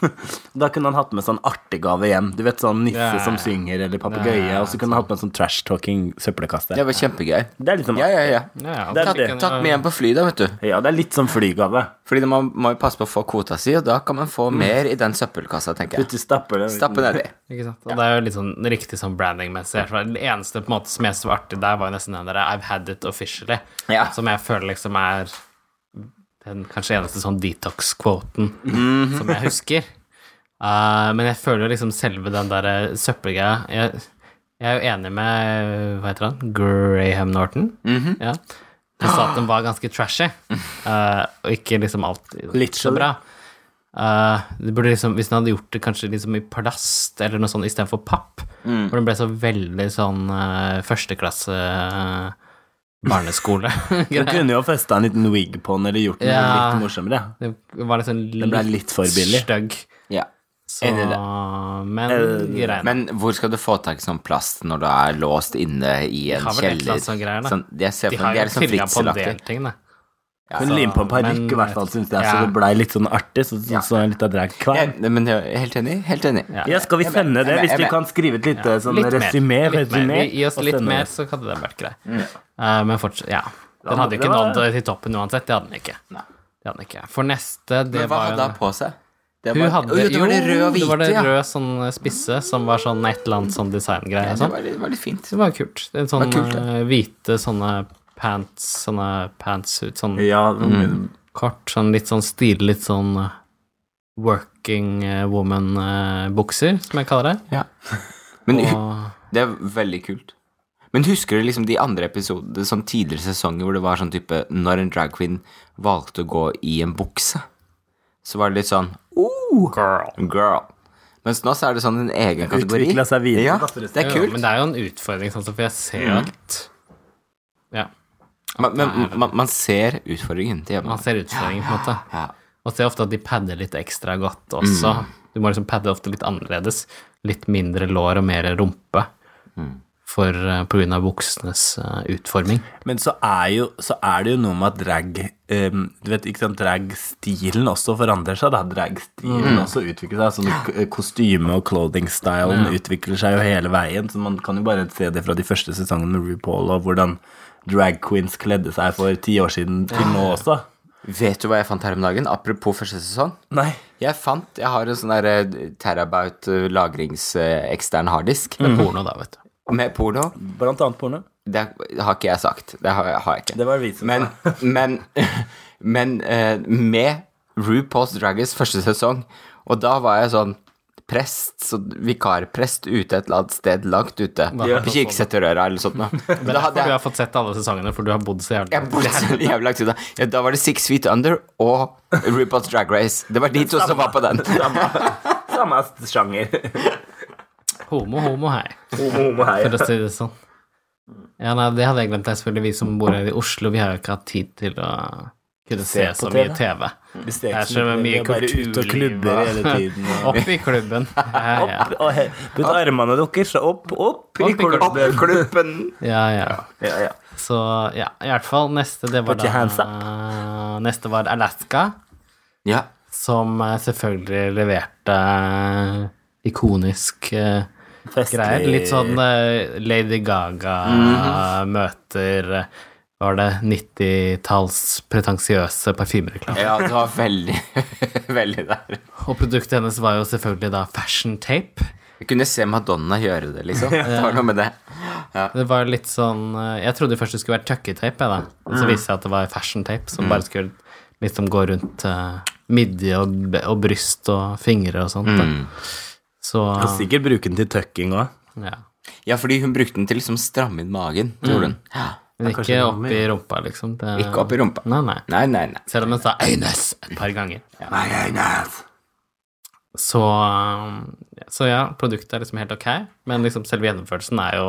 Speaker 2: da kunne han hatt med sånn artig gave igjen. Du vet, sånn nisse
Speaker 1: Mm. Ja, ja, ja.
Speaker 2: som synger, eller
Speaker 1: Ja,
Speaker 2: papegøye.
Speaker 1: ja,
Speaker 2: Og så kunne han hatt med sånn trash talking søppelkasse.
Speaker 3: Det var kjempegøy.
Speaker 2: Det er litt sånn
Speaker 3: Ja, ja, ja.
Speaker 1: Ja,
Speaker 2: Det er
Speaker 1: altså,
Speaker 2: det.
Speaker 1: kan-
Speaker 3: Tatt med hjem på fly, da, vet du.
Speaker 2: ja, det er litt sånn flygave.
Speaker 3: Fordi man må jo passe på å få kvota si, og da kan man
Speaker 1: Mm.
Speaker 3: få mer i den søppelkassa, tenker jeg.
Speaker 2: Putte stapper det.
Speaker 3: Stappe nedi.
Speaker 1: Ikke sant? Og det er jo litt sånn riktig sånn branding-messig. For Det eneste på en måte som jeg synes var artig der, var jo nesten den der I've had it officially,
Speaker 3: Ja.
Speaker 1: som jeg føler liksom er den kanskje eneste sånn detox-kvoten som jeg husker. Eh, men jeg føler jo liksom selve den der søppelgreia jeg, jeg er jo enig med Hva heter han? Graham Norton? ja. Han sa at den var ganske trashy, eh, og ikke liksom alltid
Speaker 2: Litt
Speaker 1: så bra. Eh, det burde liksom, hvis den hadde gjort det kanskje liksom i plast eller noe sånt istedenfor papp,
Speaker 2: Mm.
Speaker 1: hvor den ble så veldig sånn eh, førsteklasse eh, barneskole.
Speaker 2: Du kunne jo festa en liten wig på den, eller gjort den
Speaker 1: Ja.
Speaker 2: litt morsommere.
Speaker 1: det var liksom litt,
Speaker 2: ble litt for billig.
Speaker 1: Stygg.
Speaker 3: Ja.
Speaker 1: Så,
Speaker 3: Enig i
Speaker 1: men greit.
Speaker 3: Men hvor skal du få tak i sånn plast når du er låst inne i en
Speaker 1: har vel et eller
Speaker 3: kjeller?
Speaker 1: annet sånn greier, da.
Speaker 3: jeg ser
Speaker 1: de
Speaker 3: for meg,
Speaker 1: har
Speaker 3: de
Speaker 1: jo
Speaker 3: er
Speaker 2: liksom
Speaker 3: litt sånn
Speaker 1: tilgang på en
Speaker 3: fritzelaktig.
Speaker 1: del ting, da.
Speaker 2: Hun limpa på en parykk,
Speaker 1: Altså, men-
Speaker 2: i hvert fall, syns jeg, så
Speaker 1: Ja.
Speaker 2: det blei litt sånn artig. Så, så, så litt av drag
Speaker 3: Ja,
Speaker 2: kvern.
Speaker 3: men jeg er helt enig. Helt enig.
Speaker 1: Ja.
Speaker 2: Ja, skal vi
Speaker 3: Jeg
Speaker 2: sende
Speaker 3: vet,
Speaker 2: det,
Speaker 3: jeg
Speaker 2: hvis
Speaker 3: vet,
Speaker 2: du
Speaker 3: jeg
Speaker 2: kan skrive et lite sånn resymé?
Speaker 1: litt mer.
Speaker 2: resymé,
Speaker 1: Vi- Gi oss
Speaker 2: og
Speaker 1: litt
Speaker 2: sende
Speaker 1: mer,
Speaker 2: det.
Speaker 1: så hadde det vært greit. Eh, men fortsatt, ja. Den
Speaker 2: men
Speaker 1: hadde jo
Speaker 2: det
Speaker 1: ikke
Speaker 2: var-
Speaker 1: nådd det til toppen uansett. Det hadde den ikke.
Speaker 3: Nei.
Speaker 1: Det hadde den ikke. For neste, det
Speaker 3: Men hva
Speaker 1: var
Speaker 3: hadde
Speaker 1: jo
Speaker 3: hun på seg? Det
Speaker 1: Hun hadde
Speaker 3: Å, jo, det var det røde og
Speaker 1: det var
Speaker 3: hvite,
Speaker 1: det
Speaker 3: ja.
Speaker 1: røde sånn spisse som var sånn et eller annet sånn designgreie.
Speaker 3: Ja,
Speaker 1: og
Speaker 3: Det
Speaker 1: sånn.
Speaker 3: var litt, det var litt fint. liksom.
Speaker 1: Det var kult. En sånn
Speaker 3: Det var kult, det.
Speaker 1: eh, hvite sånne pants, sånne pantsuit, sånn
Speaker 2: Ja, mm.
Speaker 1: kort, sånn litt sånn stil, litt sånn eh, working eh, woman-bukser, som jeg kaller det.
Speaker 3: Men hu-
Speaker 1: Og
Speaker 3: det er veldig kult. Men husker du liksom de andre episodene, sånn tidligere sesonger, hvor det var sånn type Når en drag queen valgte å gå i en bukse, så var det litt sånn
Speaker 1: girl.
Speaker 3: girl. Mens nå så er det sånn en egen kategori.
Speaker 2: Utviklet seg videre,
Speaker 3: Ja,
Speaker 2: da,
Speaker 3: det er
Speaker 1: Jo,
Speaker 3: kult. Mm.
Speaker 1: men det er jo en utfordring, sånn, for jeg ser jo at Ja,
Speaker 3: Man, men man, man ser utfordringen til hjemme.
Speaker 1: man ser utfordringen, på en måte.
Speaker 3: Ja. Mm.
Speaker 1: Og ser ofte at de padder litt ekstra godt også. Du må liksom padde ofte litt annerledes. Litt mindre lår og mer rumpe.
Speaker 3: Mm.
Speaker 1: For, eh, på grunn av buksenes eh, utforming.
Speaker 2: Men så er, jo, så er det jo noe med at drag ehm, Du vet ikke sant, dragstilen også forandrer seg. da Dragstilen også utvikler seg. Sånn k- kostyme- og clothing-stylen utvikler seg jo hele veien. Så man kan jo bare se det fra de første sesongene med RuPaul, og hvordan drag queens kledde seg for ti år siden til nå også.
Speaker 3: Vet du hva jeg fant her om dagen? Apropos første sesong.
Speaker 2: Nei.
Speaker 3: Jeg fant Jeg har en sånn der eh, terabyte eh, lagrings eh, ekstern harddisk
Speaker 2: Mm.
Speaker 1: Porno, da, vet du.
Speaker 3: med porno.
Speaker 2: Blant annet porno.
Speaker 3: Det har ikke jeg sagt. Det har, har jeg ikke.
Speaker 2: Det var vi som
Speaker 3: men, men, men eh, med RuPaul's Dragons første sesong, og da var jeg sånn prest, så vikarprest ute et eller annet sted langt ute.
Speaker 1: Ja.
Speaker 3: På Kirkeseterøra eller sånt noe.
Speaker 1: Det er
Speaker 3: Da
Speaker 1: derfor
Speaker 3: hadde
Speaker 1: du
Speaker 3: jeg
Speaker 1: har fått sett alle sesongene, for du har bodd så jævlig
Speaker 3: jeg bodde så jævlig langt unna. Ja, da var det Six Feet Under og RuPaul's Drag Race. Det var de to som var på den.
Speaker 2: Samme, samme sjanger.
Speaker 1: Homo, homo, hei.
Speaker 2: Homo, homo, hei.
Speaker 1: For å si det sånn. Ja, nei, det hadde jeg glemt. Det er selvfølgelig vi som bor her i Oslo. Vi har jo ikke hatt tid til å kunne se,
Speaker 2: Se på
Speaker 1: så mye
Speaker 2: TV.
Speaker 1: TV.
Speaker 2: Hvis det
Speaker 1: Det er så mye
Speaker 2: bare ute og
Speaker 1: kulturliv,
Speaker 2: klubber
Speaker 1: hva?
Speaker 2: hele tiden. og-
Speaker 1: Opp i klubben. Ja, ja.
Speaker 2: Opp, og he- putt armene deres opp, opp
Speaker 1: Opp
Speaker 2: i
Speaker 1: i
Speaker 2: klubben.
Speaker 3: Opp i klubben!
Speaker 1: ja, ja.
Speaker 2: Ja, ja.
Speaker 1: Så ja, i hvert fall neste det var
Speaker 2: Put
Speaker 1: da
Speaker 2: your
Speaker 1: eh,
Speaker 2: hands
Speaker 1: Neste var Alaska,
Speaker 3: Ja.
Speaker 1: som eh, selvfølgelig leverte eh, ikonisk eh,
Speaker 2: Festlig.
Speaker 1: greier. Litt sånn eh, Lady Gaga
Speaker 2: Mhm.
Speaker 1: eh, møter eh, Var det 90-talls pretensiøse parfymereklame?
Speaker 3: ja, det var veldig, veldig der.
Speaker 1: Og produktet hennes var jo selvfølgelig da fashion tape.
Speaker 3: Jeg kunne se Madonna gjøre det, liksom. Det var noe med det.
Speaker 1: Det var litt sånn eh, Jeg trodde først det skulle være tucketape, jeg, da. Og så viste det seg at det var fashion tape, som bare skulle liksom gå rundt eh, midje og, b- og bryst og fingre og sånt. Da. Så
Speaker 2: Kan sikkert bruke den til tucking òg.
Speaker 1: ja.
Speaker 3: Ja, fordi hun brukte den til liksom å stramme inn magen,
Speaker 2: Mm.
Speaker 3: tror hun. Ja.
Speaker 1: Men
Speaker 2: kanskje
Speaker 1: ikke
Speaker 2: det var
Speaker 1: opp i
Speaker 2: mer.
Speaker 1: rumpa, liksom. Det,
Speaker 3: Ikke opp i rumpa.
Speaker 1: Nei, nei.
Speaker 3: Nei, nei, nei.
Speaker 1: Selv om hun sa 'Øynes' et par ganger.
Speaker 3: Nei, nei, nei.
Speaker 1: Så, um, så ja, produktet er liksom helt ok, men liksom selve gjennomførelsen er jo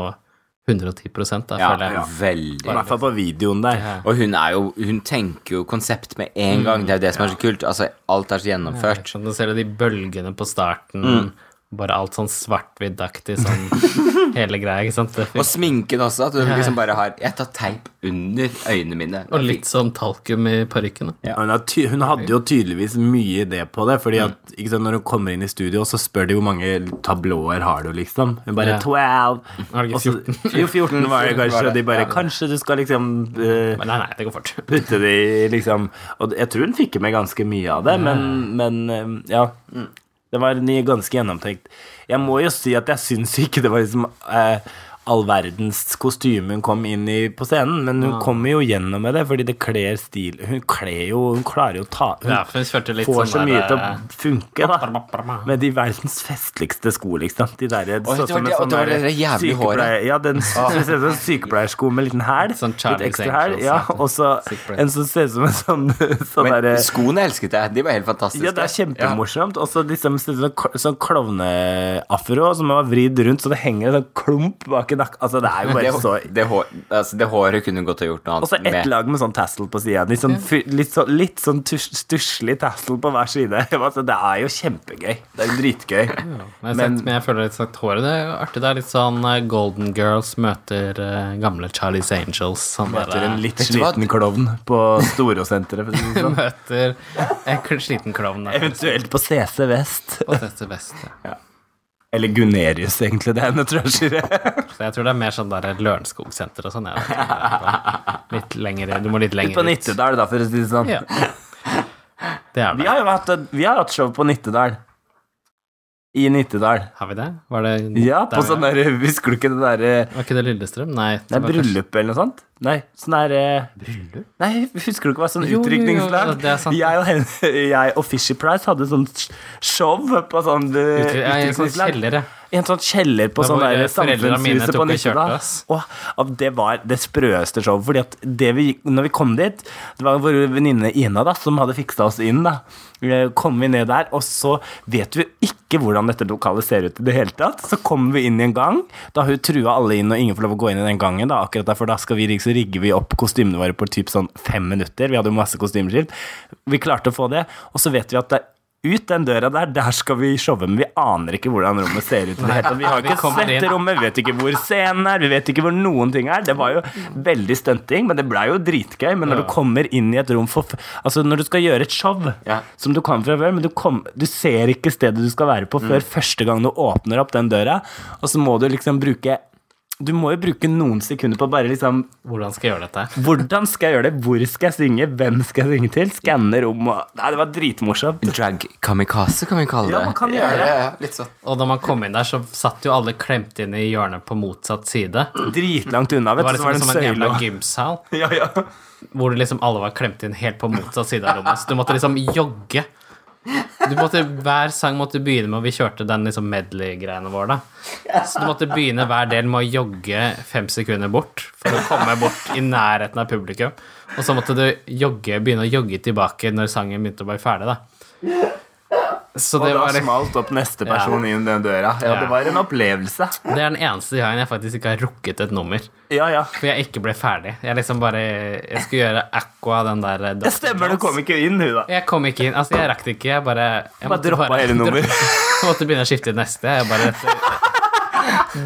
Speaker 1: 110 da,
Speaker 3: Ja,
Speaker 1: føler jeg.
Speaker 2: I
Speaker 3: veldig.
Speaker 2: hvert fall på videoen der.
Speaker 3: Og hun er jo Hun tenker jo konsept med en gang. Det er jo det
Speaker 2: Mm.
Speaker 3: som er så kult. Altså, alt er så gjennomført.
Speaker 1: Sånn, du ser jo de bølgene på starten,
Speaker 2: Mm.
Speaker 1: bare alt sånn svart-hvitt-aktig, sånn hele greia, ikke sant? Det
Speaker 3: Og
Speaker 1: fikk,
Speaker 3: sminken også. At hun liksom bare har Jeg tar teip under øynene mine.
Speaker 1: og litt sånn talkum i parykken. da.
Speaker 2: Ja, Hun, har ty hun hadde jo tydeligvis mye idé på det. Fordi at ikke sant, Når hun kommer inn i studio, så spør de hvor mange tablåer har du liksom. Hun bare
Speaker 1: Ja.
Speaker 2: 12.
Speaker 1: Har du ikke
Speaker 2: Og så- Jo, 14 var det kanskje. Og de bare Kanskje du skal liksom eh,
Speaker 1: Men nei, nei, det går fort.
Speaker 2: putte det i liksom Og jeg tror hun fikk med ganske mye av det, men, men eh, ja. Det var ny- ganske gjennomtenkt. Jeg må jo si at jeg syns ikke det var liksom eh, all verdens kostyme hun kom inn i på scenen, men hun kommer jo gjennom med det, fordi det kler stil Hun kler jo Hun klarer jo å ta Hun
Speaker 1: Ja, for hun kjørte litt
Speaker 2: får
Speaker 1: sånn
Speaker 2: så mye
Speaker 1: der,
Speaker 2: til å
Speaker 1: eh,
Speaker 2: funke, da. Med de verdens festligste sko, liksom. De der
Speaker 3: Oi,
Speaker 2: så
Speaker 3: det var
Speaker 2: som en
Speaker 3: det- og
Speaker 2: sånn
Speaker 3: det var
Speaker 2: der
Speaker 3: det jævlig håret.
Speaker 2: sykepleier- Ja, den ser ut som en sykepleiersko med liten hæl.
Speaker 1: Sånn
Speaker 2: litt
Speaker 1: Charlie's
Speaker 2: ekstra hæl.
Speaker 1: Angels,
Speaker 2: Ja,
Speaker 1: heter det.
Speaker 2: og så
Speaker 1: Sykepleier.
Speaker 2: en som ser ut som en sånn, sånn
Speaker 3: Men
Speaker 2: derre
Speaker 3: skoene elsket jeg. De var helt fantastiske.
Speaker 2: ja, det er kjempemorsomt. Og så liksom ser det ut som en kl- sånn klovneafro som var vridd rundt, så det henger en sånn klump bak i nakken. Altså, det er jo
Speaker 3: Det,
Speaker 2: bare så
Speaker 3: det, hår, altså, det håret kunne hun godt ha gjort noe
Speaker 2: Og så
Speaker 3: annet
Speaker 2: ett lag med sånn tassel på sida. Litt sånn, fy- litt sånn, litt sånn tus- stusslig tassel på hver side. Altså, det er jo kjempegøy. Det er jo dritgøy.
Speaker 1: Men jeg,
Speaker 2: Men-
Speaker 1: sett, men jeg føler litt sagt håret, det er jo artig. Det er litt sånn eh, Golden Girls møter eh, gamle Charlie's Angels. Sånn der,
Speaker 2: Etter en litt
Speaker 3: Vet du hva?
Speaker 2: sliten klovn på Storosenteret. for å si det sånn.
Speaker 1: møter en kl- sliten klovn der.
Speaker 2: Eventuelt på CC Vest.
Speaker 1: Og dette beste.
Speaker 2: Eller Gunerius, egentlig. Det er henne, trashere.
Speaker 1: Så jeg tror det er mer sånn der Lørenskog-senter og sånn. jeg vet ikke. Litt lenger, du må litt lenger
Speaker 2: På Nittedal, da, for å si det sånn.
Speaker 1: Ja. Det er
Speaker 2: Vi
Speaker 1: det.
Speaker 2: har jo hatt, vi har hatt show på Nittedal. I Nittedal.
Speaker 1: Har vi det? Var det
Speaker 2: Ja, på
Speaker 1: der vi
Speaker 2: sånn der Husker du ikke det derre
Speaker 1: er? Var ikke det Lillestrøm? Nei.
Speaker 2: Det
Speaker 1: var
Speaker 2: er
Speaker 1: kanskje-
Speaker 2: bryllup eller noe sånt? Nei, sånn der Bryllup? Nei, husker du ikke hva sånn
Speaker 1: Jo, jo, jo,
Speaker 2: utrykningslag?
Speaker 1: det er sant.
Speaker 2: Jeg og, hen, jeg og Fisher Price hadde sånn show på sånn eh,
Speaker 1: Utry- ja, i en sånn
Speaker 2: utrykningslag.
Speaker 1: kjeller, ja.
Speaker 2: I en sånn kjeller på
Speaker 1: Der
Speaker 2: sånn
Speaker 1: hvor,
Speaker 2: der
Speaker 1: eh, foreldrene mine
Speaker 2: samfunnshuset
Speaker 1: tok
Speaker 2: på
Speaker 1: og kjørte
Speaker 2: Nittedal.
Speaker 1: oss.
Speaker 2: Og at det var det sprøeste showet. Fordi at det vi, når vi kom dit, det var vår venninne Ina da, som hadde fiksa oss inn. da. Eh, Kom vi ned der, og så vet vi ikke hvordan dette lokalet ser ut i det hele tatt. Så kommer vi inn i en gang. Da har hun trua alle inn, og ingen får lov å gå inn i den gangen. da, akkurat derfor da skal vi, rig- så rigger vi opp kostymene våre på typ sånn fem minutter. Vi hadde jo masse kostymeskift. Vi klarte å få det, og så vet vi at det er ut den døra der, der skal vi showe, men vi aner ikke hvordan rommet ser ut. i Det hele tatt. vi har
Speaker 1: Vi
Speaker 2: ikke
Speaker 1: kommer
Speaker 2: sett
Speaker 1: inn.
Speaker 2: rommet, vi vet ikke hvor scenen er, vi vet ikke hvor noen ting er. Det var jo veldig stunting, men det blei jo dritgøy. Men når du kommer inn i et rom for f- Altså, når du skal gjøre et show
Speaker 3: Ja.
Speaker 2: som du kan fra før, men du, kom, du ser
Speaker 1: Mm.
Speaker 2: ikke stedet du skal være på før første gang du åpner opp den døra, og så må du liksom bruke Du må jo bruke noen sekunder på bare liksom
Speaker 1: Hvordan skal jeg gjøre dette?
Speaker 2: Hvordan skal jeg gjøre det? Hvor skal jeg synge? Hvem skal jeg synge til? Skanne rom og Nei, det var dritmorsomt.
Speaker 3: Drag kamikaze, kan vi kalle det.
Speaker 2: Ja, man kan gjøre det.
Speaker 3: Ja, ja, ja, litt sånn.
Speaker 1: Og da man kom inn der, så satt jo alle klemt inn i hjørnet på motsatt side. Det
Speaker 2: Dritlangt unna, vet
Speaker 1: var
Speaker 2: du. Så var
Speaker 1: liksom
Speaker 2: det
Speaker 1: som
Speaker 2: en
Speaker 1: en
Speaker 2: søyle.
Speaker 1: jævla
Speaker 2: og-
Speaker 1: gymsal,
Speaker 2: Ja, ja.
Speaker 1: hvor det liksom alle var klemt inn helt på motsatt side av rommet. Så du måtte liksom jogge. Du måtte, hver sang måtte begynne med og Vi kjørte den liksom medley-greiene våre, da. Så du måtte begynne hver del med å jogge fem sekunder bort for å komme bort i nærheten av publikum. Og så måtte du jogge, begynne å jogge tilbake når sangen begynte å bli ferdig, da. Så
Speaker 2: Og
Speaker 1: det
Speaker 2: da
Speaker 1: var
Speaker 2: smalt opp neste person inn den døra. Ja,
Speaker 1: Ja.
Speaker 2: det var en opplevelse.
Speaker 1: Det er den eneste gangen jeg faktisk ikke har rukket et nummer.
Speaker 2: Ja, ja.
Speaker 1: For jeg ikke ble ferdig. Jeg liksom bare Jeg skulle gjøre aqua, den der eh,
Speaker 2: Det stemmer, du kom ikke inn, hun da.
Speaker 1: Jeg kom ikke inn. Altså, jeg rakk det ikke. Jeg bare Jeg
Speaker 2: Bare droppa hele nummer.
Speaker 1: Jeg måtte begynne å skifte til neste. Jeg bare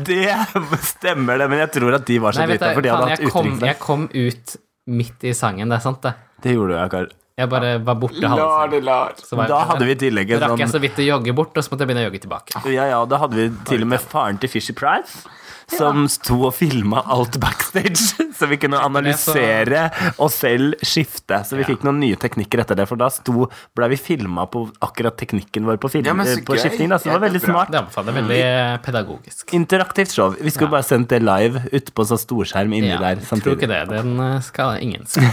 Speaker 2: Det stemmer det, men jeg tror at de var så
Speaker 1: Nei, vet
Speaker 2: drita, for
Speaker 1: du,
Speaker 2: de
Speaker 1: faen,
Speaker 2: hadde hatt
Speaker 1: jeg kom,
Speaker 2: uttrykk
Speaker 1: jeg kom ut midt i sangen, det er sant, det.
Speaker 2: Det gjorde du, ja, Karl.
Speaker 1: Jeg bare var borte halve
Speaker 3: Lar
Speaker 1: sangen.
Speaker 3: det sånn. lar.
Speaker 1: Så var jeg-
Speaker 2: Da hadde vi i tillegg en
Speaker 1: Så rakk jeg så
Speaker 2: sånn
Speaker 1: vidt å jogge bort, og så måtte jeg begynne å jogge tilbake.
Speaker 2: Ja, ja, da hadde vi til og med faren til Fisher Price. Som sto og filma alt backstage, så vi kunne analysere og selv skifte. Så vi fikk noen nye teknikker etter det, for da sto, ble vi filma på akkurat teknikken vår på, film,
Speaker 3: Ja, men så
Speaker 2: på
Speaker 3: gøy.
Speaker 2: skifting. Da, så det var veldig
Speaker 3: Kjempebra.
Speaker 2: smart.
Speaker 1: Det anbefaler jeg veldig eh, pedagogisk.
Speaker 2: Interaktivt show. Vi skulle bare sendt det live ute på sånn storskjerm inni
Speaker 1: Ja,
Speaker 2: der
Speaker 1: jeg tror ikke
Speaker 2: samtidig.
Speaker 1: det. Den eh, skal ingen se.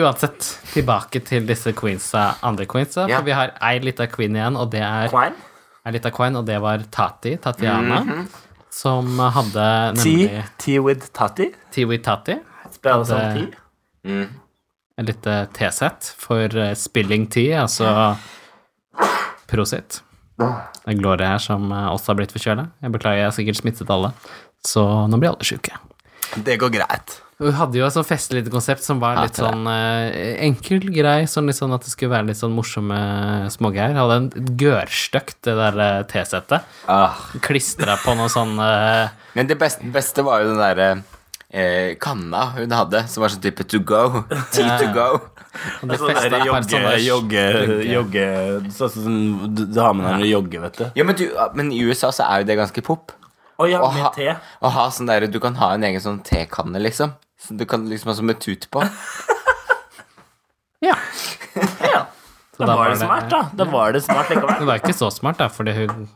Speaker 1: Uansett, tilbake til disse queensa, andre queensa.
Speaker 3: Ja.
Speaker 1: For vi har ei lita queen igjen, og det er
Speaker 2: Quine?
Speaker 1: ei lita queen, og det var Tati, Tatiana.
Speaker 2: Mhm.
Speaker 1: Som hadde
Speaker 2: Tea?
Speaker 1: nemlig
Speaker 2: Tea with Tati?
Speaker 1: Tiwi Tati.
Speaker 2: Spell
Speaker 1: som tea. Et lite T-sett for eh, spilling tea, altså Prosit. Det er Gloria her som eh, også har blitt forkjøla. Jeg beklager, jeg har sikkert smittet alle. Så nå blir alle sjuke.
Speaker 3: Det går greit.
Speaker 1: Hun hadde jo et sånn festlig lite konsept som var litt
Speaker 3: Hater det.
Speaker 1: sånn eh, enkel, grei, sånn litt sånn at det skulle være litt sånn morsomme smågreier. Hadde en gørrstøkt, det der eh, T-settet.
Speaker 3: Ah.
Speaker 1: Klistra på noe sånn eh,
Speaker 3: Men det beste, beste var jo den derre eh, kanna hun hadde, som var sånn type to go. Tea to go.
Speaker 1: og de festet et par sånne-
Speaker 2: Sånn jogge, jogge Sånn som du, du har med deg når du jogger, vet du.
Speaker 3: Ja, men, du, ah, men i USA så er jo det ganske pop.
Speaker 2: Å ja,
Speaker 3: Å
Speaker 2: med
Speaker 3: ha,
Speaker 2: te.
Speaker 3: å ha sånn der, Du kan ha en egen sånn tekanne, liksom. Som du kan liksom ha som et tut på.
Speaker 1: Ja.
Speaker 2: Ja.
Speaker 1: da
Speaker 2: Da var
Speaker 1: var
Speaker 2: det
Speaker 1: det-
Speaker 2: smart, da. Da var det smart likevel.
Speaker 1: Det var ikke så smart, da, fordi hun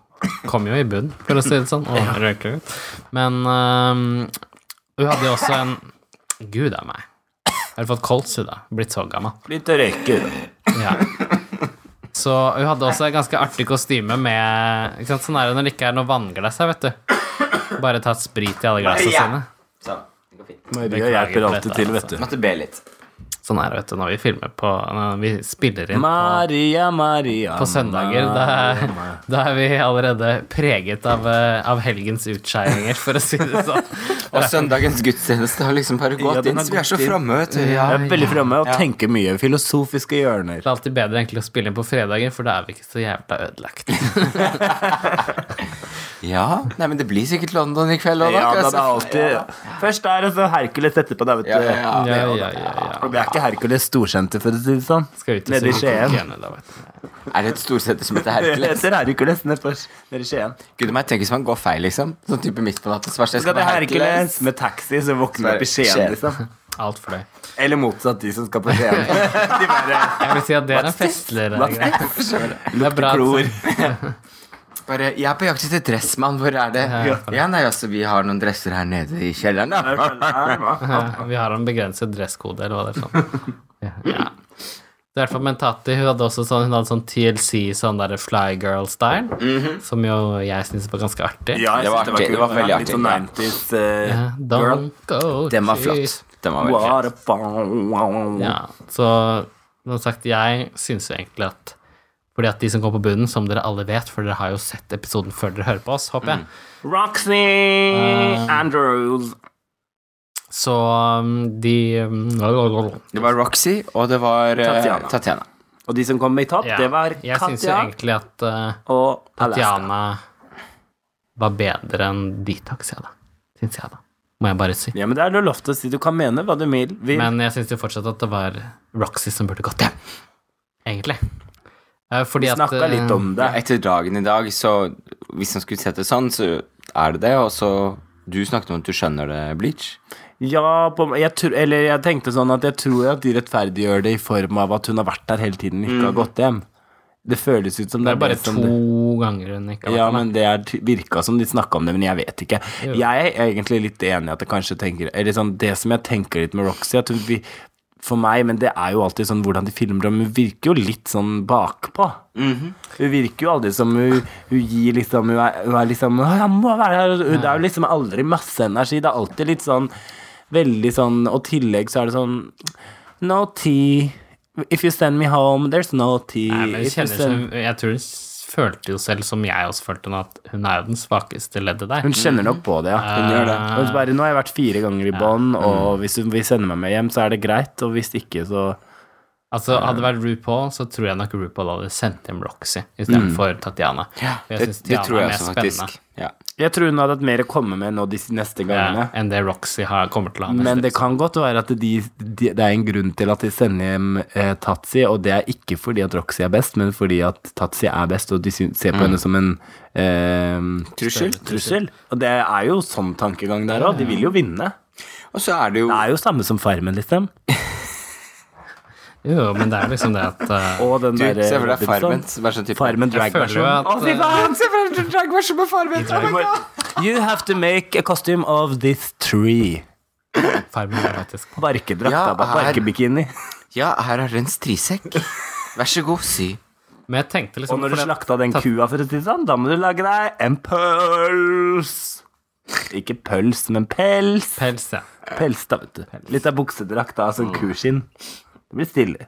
Speaker 1: kom jo i bunn, for å si det sånn. Og røyker ut. Men eh, hun hadde jo også en Gud a meg. Jeg har fått kols, hun, da. Blitt så gammel.
Speaker 2: Litt å røyke. da.
Speaker 1: Ja. Så hun hadde også et ganske artig kostyme med ikke sant, Sånn er det når det ikke er noe vannglass her, vet du. Bare tatt sprit i alle glassene
Speaker 3: Ja.
Speaker 1: sine.
Speaker 3: Sånn. Det går fint.
Speaker 2: Maria
Speaker 1: Beklager
Speaker 2: hjelper
Speaker 1: dette,
Speaker 2: alltid til, vet du.
Speaker 3: Måtte be litt.
Speaker 1: Sånn er det, vet du, når vi filmer på Når vi spiller inn på,
Speaker 2: Maria, Maria
Speaker 1: på søndager. Da, er- da er vi allerede preget av, eh, av helgens utskeiinger, for å si det sånn.
Speaker 3: Og søndagens gudstjeneste har liksom bare gått
Speaker 2: Ja, den
Speaker 3: inn,
Speaker 2: har
Speaker 3: så vi er så
Speaker 2: gått inn.
Speaker 3: framme, vet du.
Speaker 2: Jeg er veldig fremme og
Speaker 3: Ja.
Speaker 2: tenker mye. Filosofiske hjørner.
Speaker 1: Det er alltid bedre egentlig å spille inn på fredager, for da er vi ikke så jævla ødelagt.
Speaker 3: ja. Nei, men det blir sikkert London i kveld òg,
Speaker 2: Ja, da, det er alltid Først er det så Hercules etterpå, da, vet
Speaker 3: Ja, ja,
Speaker 2: du.
Speaker 3: ja.
Speaker 1: Ja, ja, ja, ja.
Speaker 2: Og det er ikke Hercules storsenter, for å si det sånn.
Speaker 1: Skal ut og
Speaker 2: Nede i
Speaker 1: se
Speaker 2: Skien.
Speaker 1: Kokene, da, vet du.
Speaker 3: Er det et storsenter som heter
Speaker 2: Det
Speaker 3: Hercules?
Speaker 2: heter Hercules nede på- nede i Skien.
Speaker 3: Gud meg, tenk hvis man går feil, liksom. Sånn type midt på natten. Så bare,
Speaker 2: Skal til Hercules med taxi, så våkner du opp i Skien,
Speaker 3: Skien.
Speaker 2: liksom.
Speaker 1: Alt for deg.
Speaker 2: Eller motsatt, de som skal på Skien. De bare
Speaker 1: Jeg vil si at det er en festligere
Speaker 2: What's
Speaker 1: greie. Det er bra at-
Speaker 2: klor.
Speaker 3: Bare, jeg er på jakt etter dressmann, hvor er det? Ja, nei, altså, vi har noen dresser her nede i kjelleren, da.
Speaker 1: Ja, Vi har en begrenset dresskode, eller hva det er sånn. Ja. Det er i hvert fall Mentati. Hun hadde også sånn, hun hadde sånn TLC, sånn der Fly Girl-style,
Speaker 3: Mm.
Speaker 2: Mhm.
Speaker 1: som jo jeg syns var ganske artig.
Speaker 2: Ja, jeg
Speaker 3: Det var
Speaker 2: synes
Speaker 3: artig, det var veldig
Speaker 2: Litt sånn 90s
Speaker 1: Ja,
Speaker 2: eh, girl.
Speaker 1: Don't go
Speaker 3: Den var
Speaker 1: to-
Speaker 3: flott. Den var veldig flott.
Speaker 2: What a fun-
Speaker 1: Ja, så som sagt, jeg syns jo egentlig at fordi at de som går på bunnen, som dere alle vet, for dere har jo sett episoden før dere hører på oss, håper jeg,
Speaker 2: Mm. Roxy
Speaker 1: Uh,
Speaker 2: Andrews.
Speaker 1: så um, de um,
Speaker 3: Det var Roxy, og det var eh,
Speaker 2: Tatiana.
Speaker 3: Tatiana.
Speaker 2: Og de som kom i topp,
Speaker 1: Ja,
Speaker 2: det var
Speaker 1: Jeg syns jo
Speaker 2: Katja
Speaker 1: egentlig at eh,
Speaker 2: og Alaska.
Speaker 1: Diana var bedre enn Detox, ja da. Syns jeg, da. Må jeg bare si.
Speaker 2: Ja, men det er det lov til å si. Du kan mene hva du vil. vil.
Speaker 1: Men jeg syns jo fortsatt at det var Roxy som burde gått hjem. Egentlig. Eh, Fordi at eh,
Speaker 2: Snakka litt om
Speaker 3: Ja,
Speaker 2: det.
Speaker 3: etter dagen i dag, så hvis man skulle sett det sånn, så er det det, og så Du snakket om at du skjønner det, Bleach.
Speaker 2: Ja, på, jeg, tror- eller jeg tenkte sånn at jeg tror at de rettferdiggjør det i form av at hun har vært der hele tiden og ikke har gått hjem. Det føles ut som det
Speaker 1: Det
Speaker 2: er
Speaker 1: er bare
Speaker 2: det som det-
Speaker 1: to ganger hun ikke har vært
Speaker 2: Ja, men det er ty- virka som de snakka om det, men jeg vet ikke. Jeg er egentlig litt enig i at jeg kanskje tenker Eller sånn, det som jeg tenker litt med Roxy at hun, vi- For meg, men det er jo alltid sånn hvordan de filmer om Hun virker jo litt sånn bakpå.
Speaker 1: Mhm.
Speaker 2: Hun virker jo aldri som hun, hun gir liksom Hun er, hun er liksom «Å, jeg må være her. Hun- Det er jo liksom aldri masse energi. Det er alltid litt sånn Veldig sånn Og i tillegg så er det sånn No tea. If you send me home, there's no tea.
Speaker 1: Nei, men hun
Speaker 2: If you
Speaker 1: kjenner
Speaker 2: send-
Speaker 1: seg, jeg tror hun s- følte jo selv, som jeg også følte nå, at hun er jo den svakeste leddet der.
Speaker 2: Hun kjenner nok på det, ja.
Speaker 3: Hun gjør det. Mm.
Speaker 2: Og så bare, nå har jeg vært fire ganger i bånd, og hvis hun vil sende meg med hjem, så er det greit, og hvis ikke, så
Speaker 1: Altså, hadde det vært RuPaul, så tror jeg nok RuPaul hadde sendt hjem Roxy istedenfor Tatiana. For jeg
Speaker 3: Mm. Det,
Speaker 1: synes
Speaker 3: det
Speaker 1: Tatiana
Speaker 3: tror
Speaker 1: er
Speaker 3: jeg
Speaker 1: mer
Speaker 3: også,
Speaker 1: spennende,
Speaker 3: faktisk. Ja.
Speaker 2: Jeg tror hun hadde hatt mer å komme med nå de neste
Speaker 1: eh,
Speaker 2: gangene.
Speaker 1: Enn det Roxy har, kommer til å ha. neste
Speaker 2: Men det
Speaker 1: episode.
Speaker 2: kan godt være at de, de, det er en grunn til at de sender hjem eh, Tatsi, og det er ikke fordi at Roxy er best, men fordi at Tatsi er best, og de syn- ser på henne som en eh,
Speaker 3: Mm. Trussel.
Speaker 2: trussel. Og det er jo sånn tankegang der òg. De vil jo vinne.
Speaker 3: Og så er det jo
Speaker 2: Det er jo samme som Farmen, liksom.
Speaker 1: Jo, men det er liksom det at eh,
Speaker 2: Og den
Speaker 3: Du,
Speaker 2: derre
Speaker 3: se for deg
Speaker 2: eh, Robinson.
Speaker 3: Farmen. Vær så type.
Speaker 2: Farmen
Speaker 1: Jeg føler jo
Speaker 2: drag-versjon.
Speaker 1: at eh,
Speaker 3: Se for deg dragversjon med Farmen! Oh my God.
Speaker 2: You have to make a costume of this tree.
Speaker 1: Farmen er faktisk
Speaker 2: Barkedrakt,
Speaker 3: Ja,
Speaker 2: da.
Speaker 3: her-
Speaker 2: Barkebikini.
Speaker 3: Ja, her har du en strisekk. Vær så god, sy.
Speaker 1: Men jeg tenkte liksom
Speaker 2: Og når du
Speaker 1: fordi-
Speaker 2: slakta den kua, for å si det sånn, da må du lage deg en pøls. Ikke pøls, men pels.
Speaker 1: Pels, ja.
Speaker 2: Pels, da, vet du. Litt av buksedrakt, da. Sånn kuskinn. Det blir stille.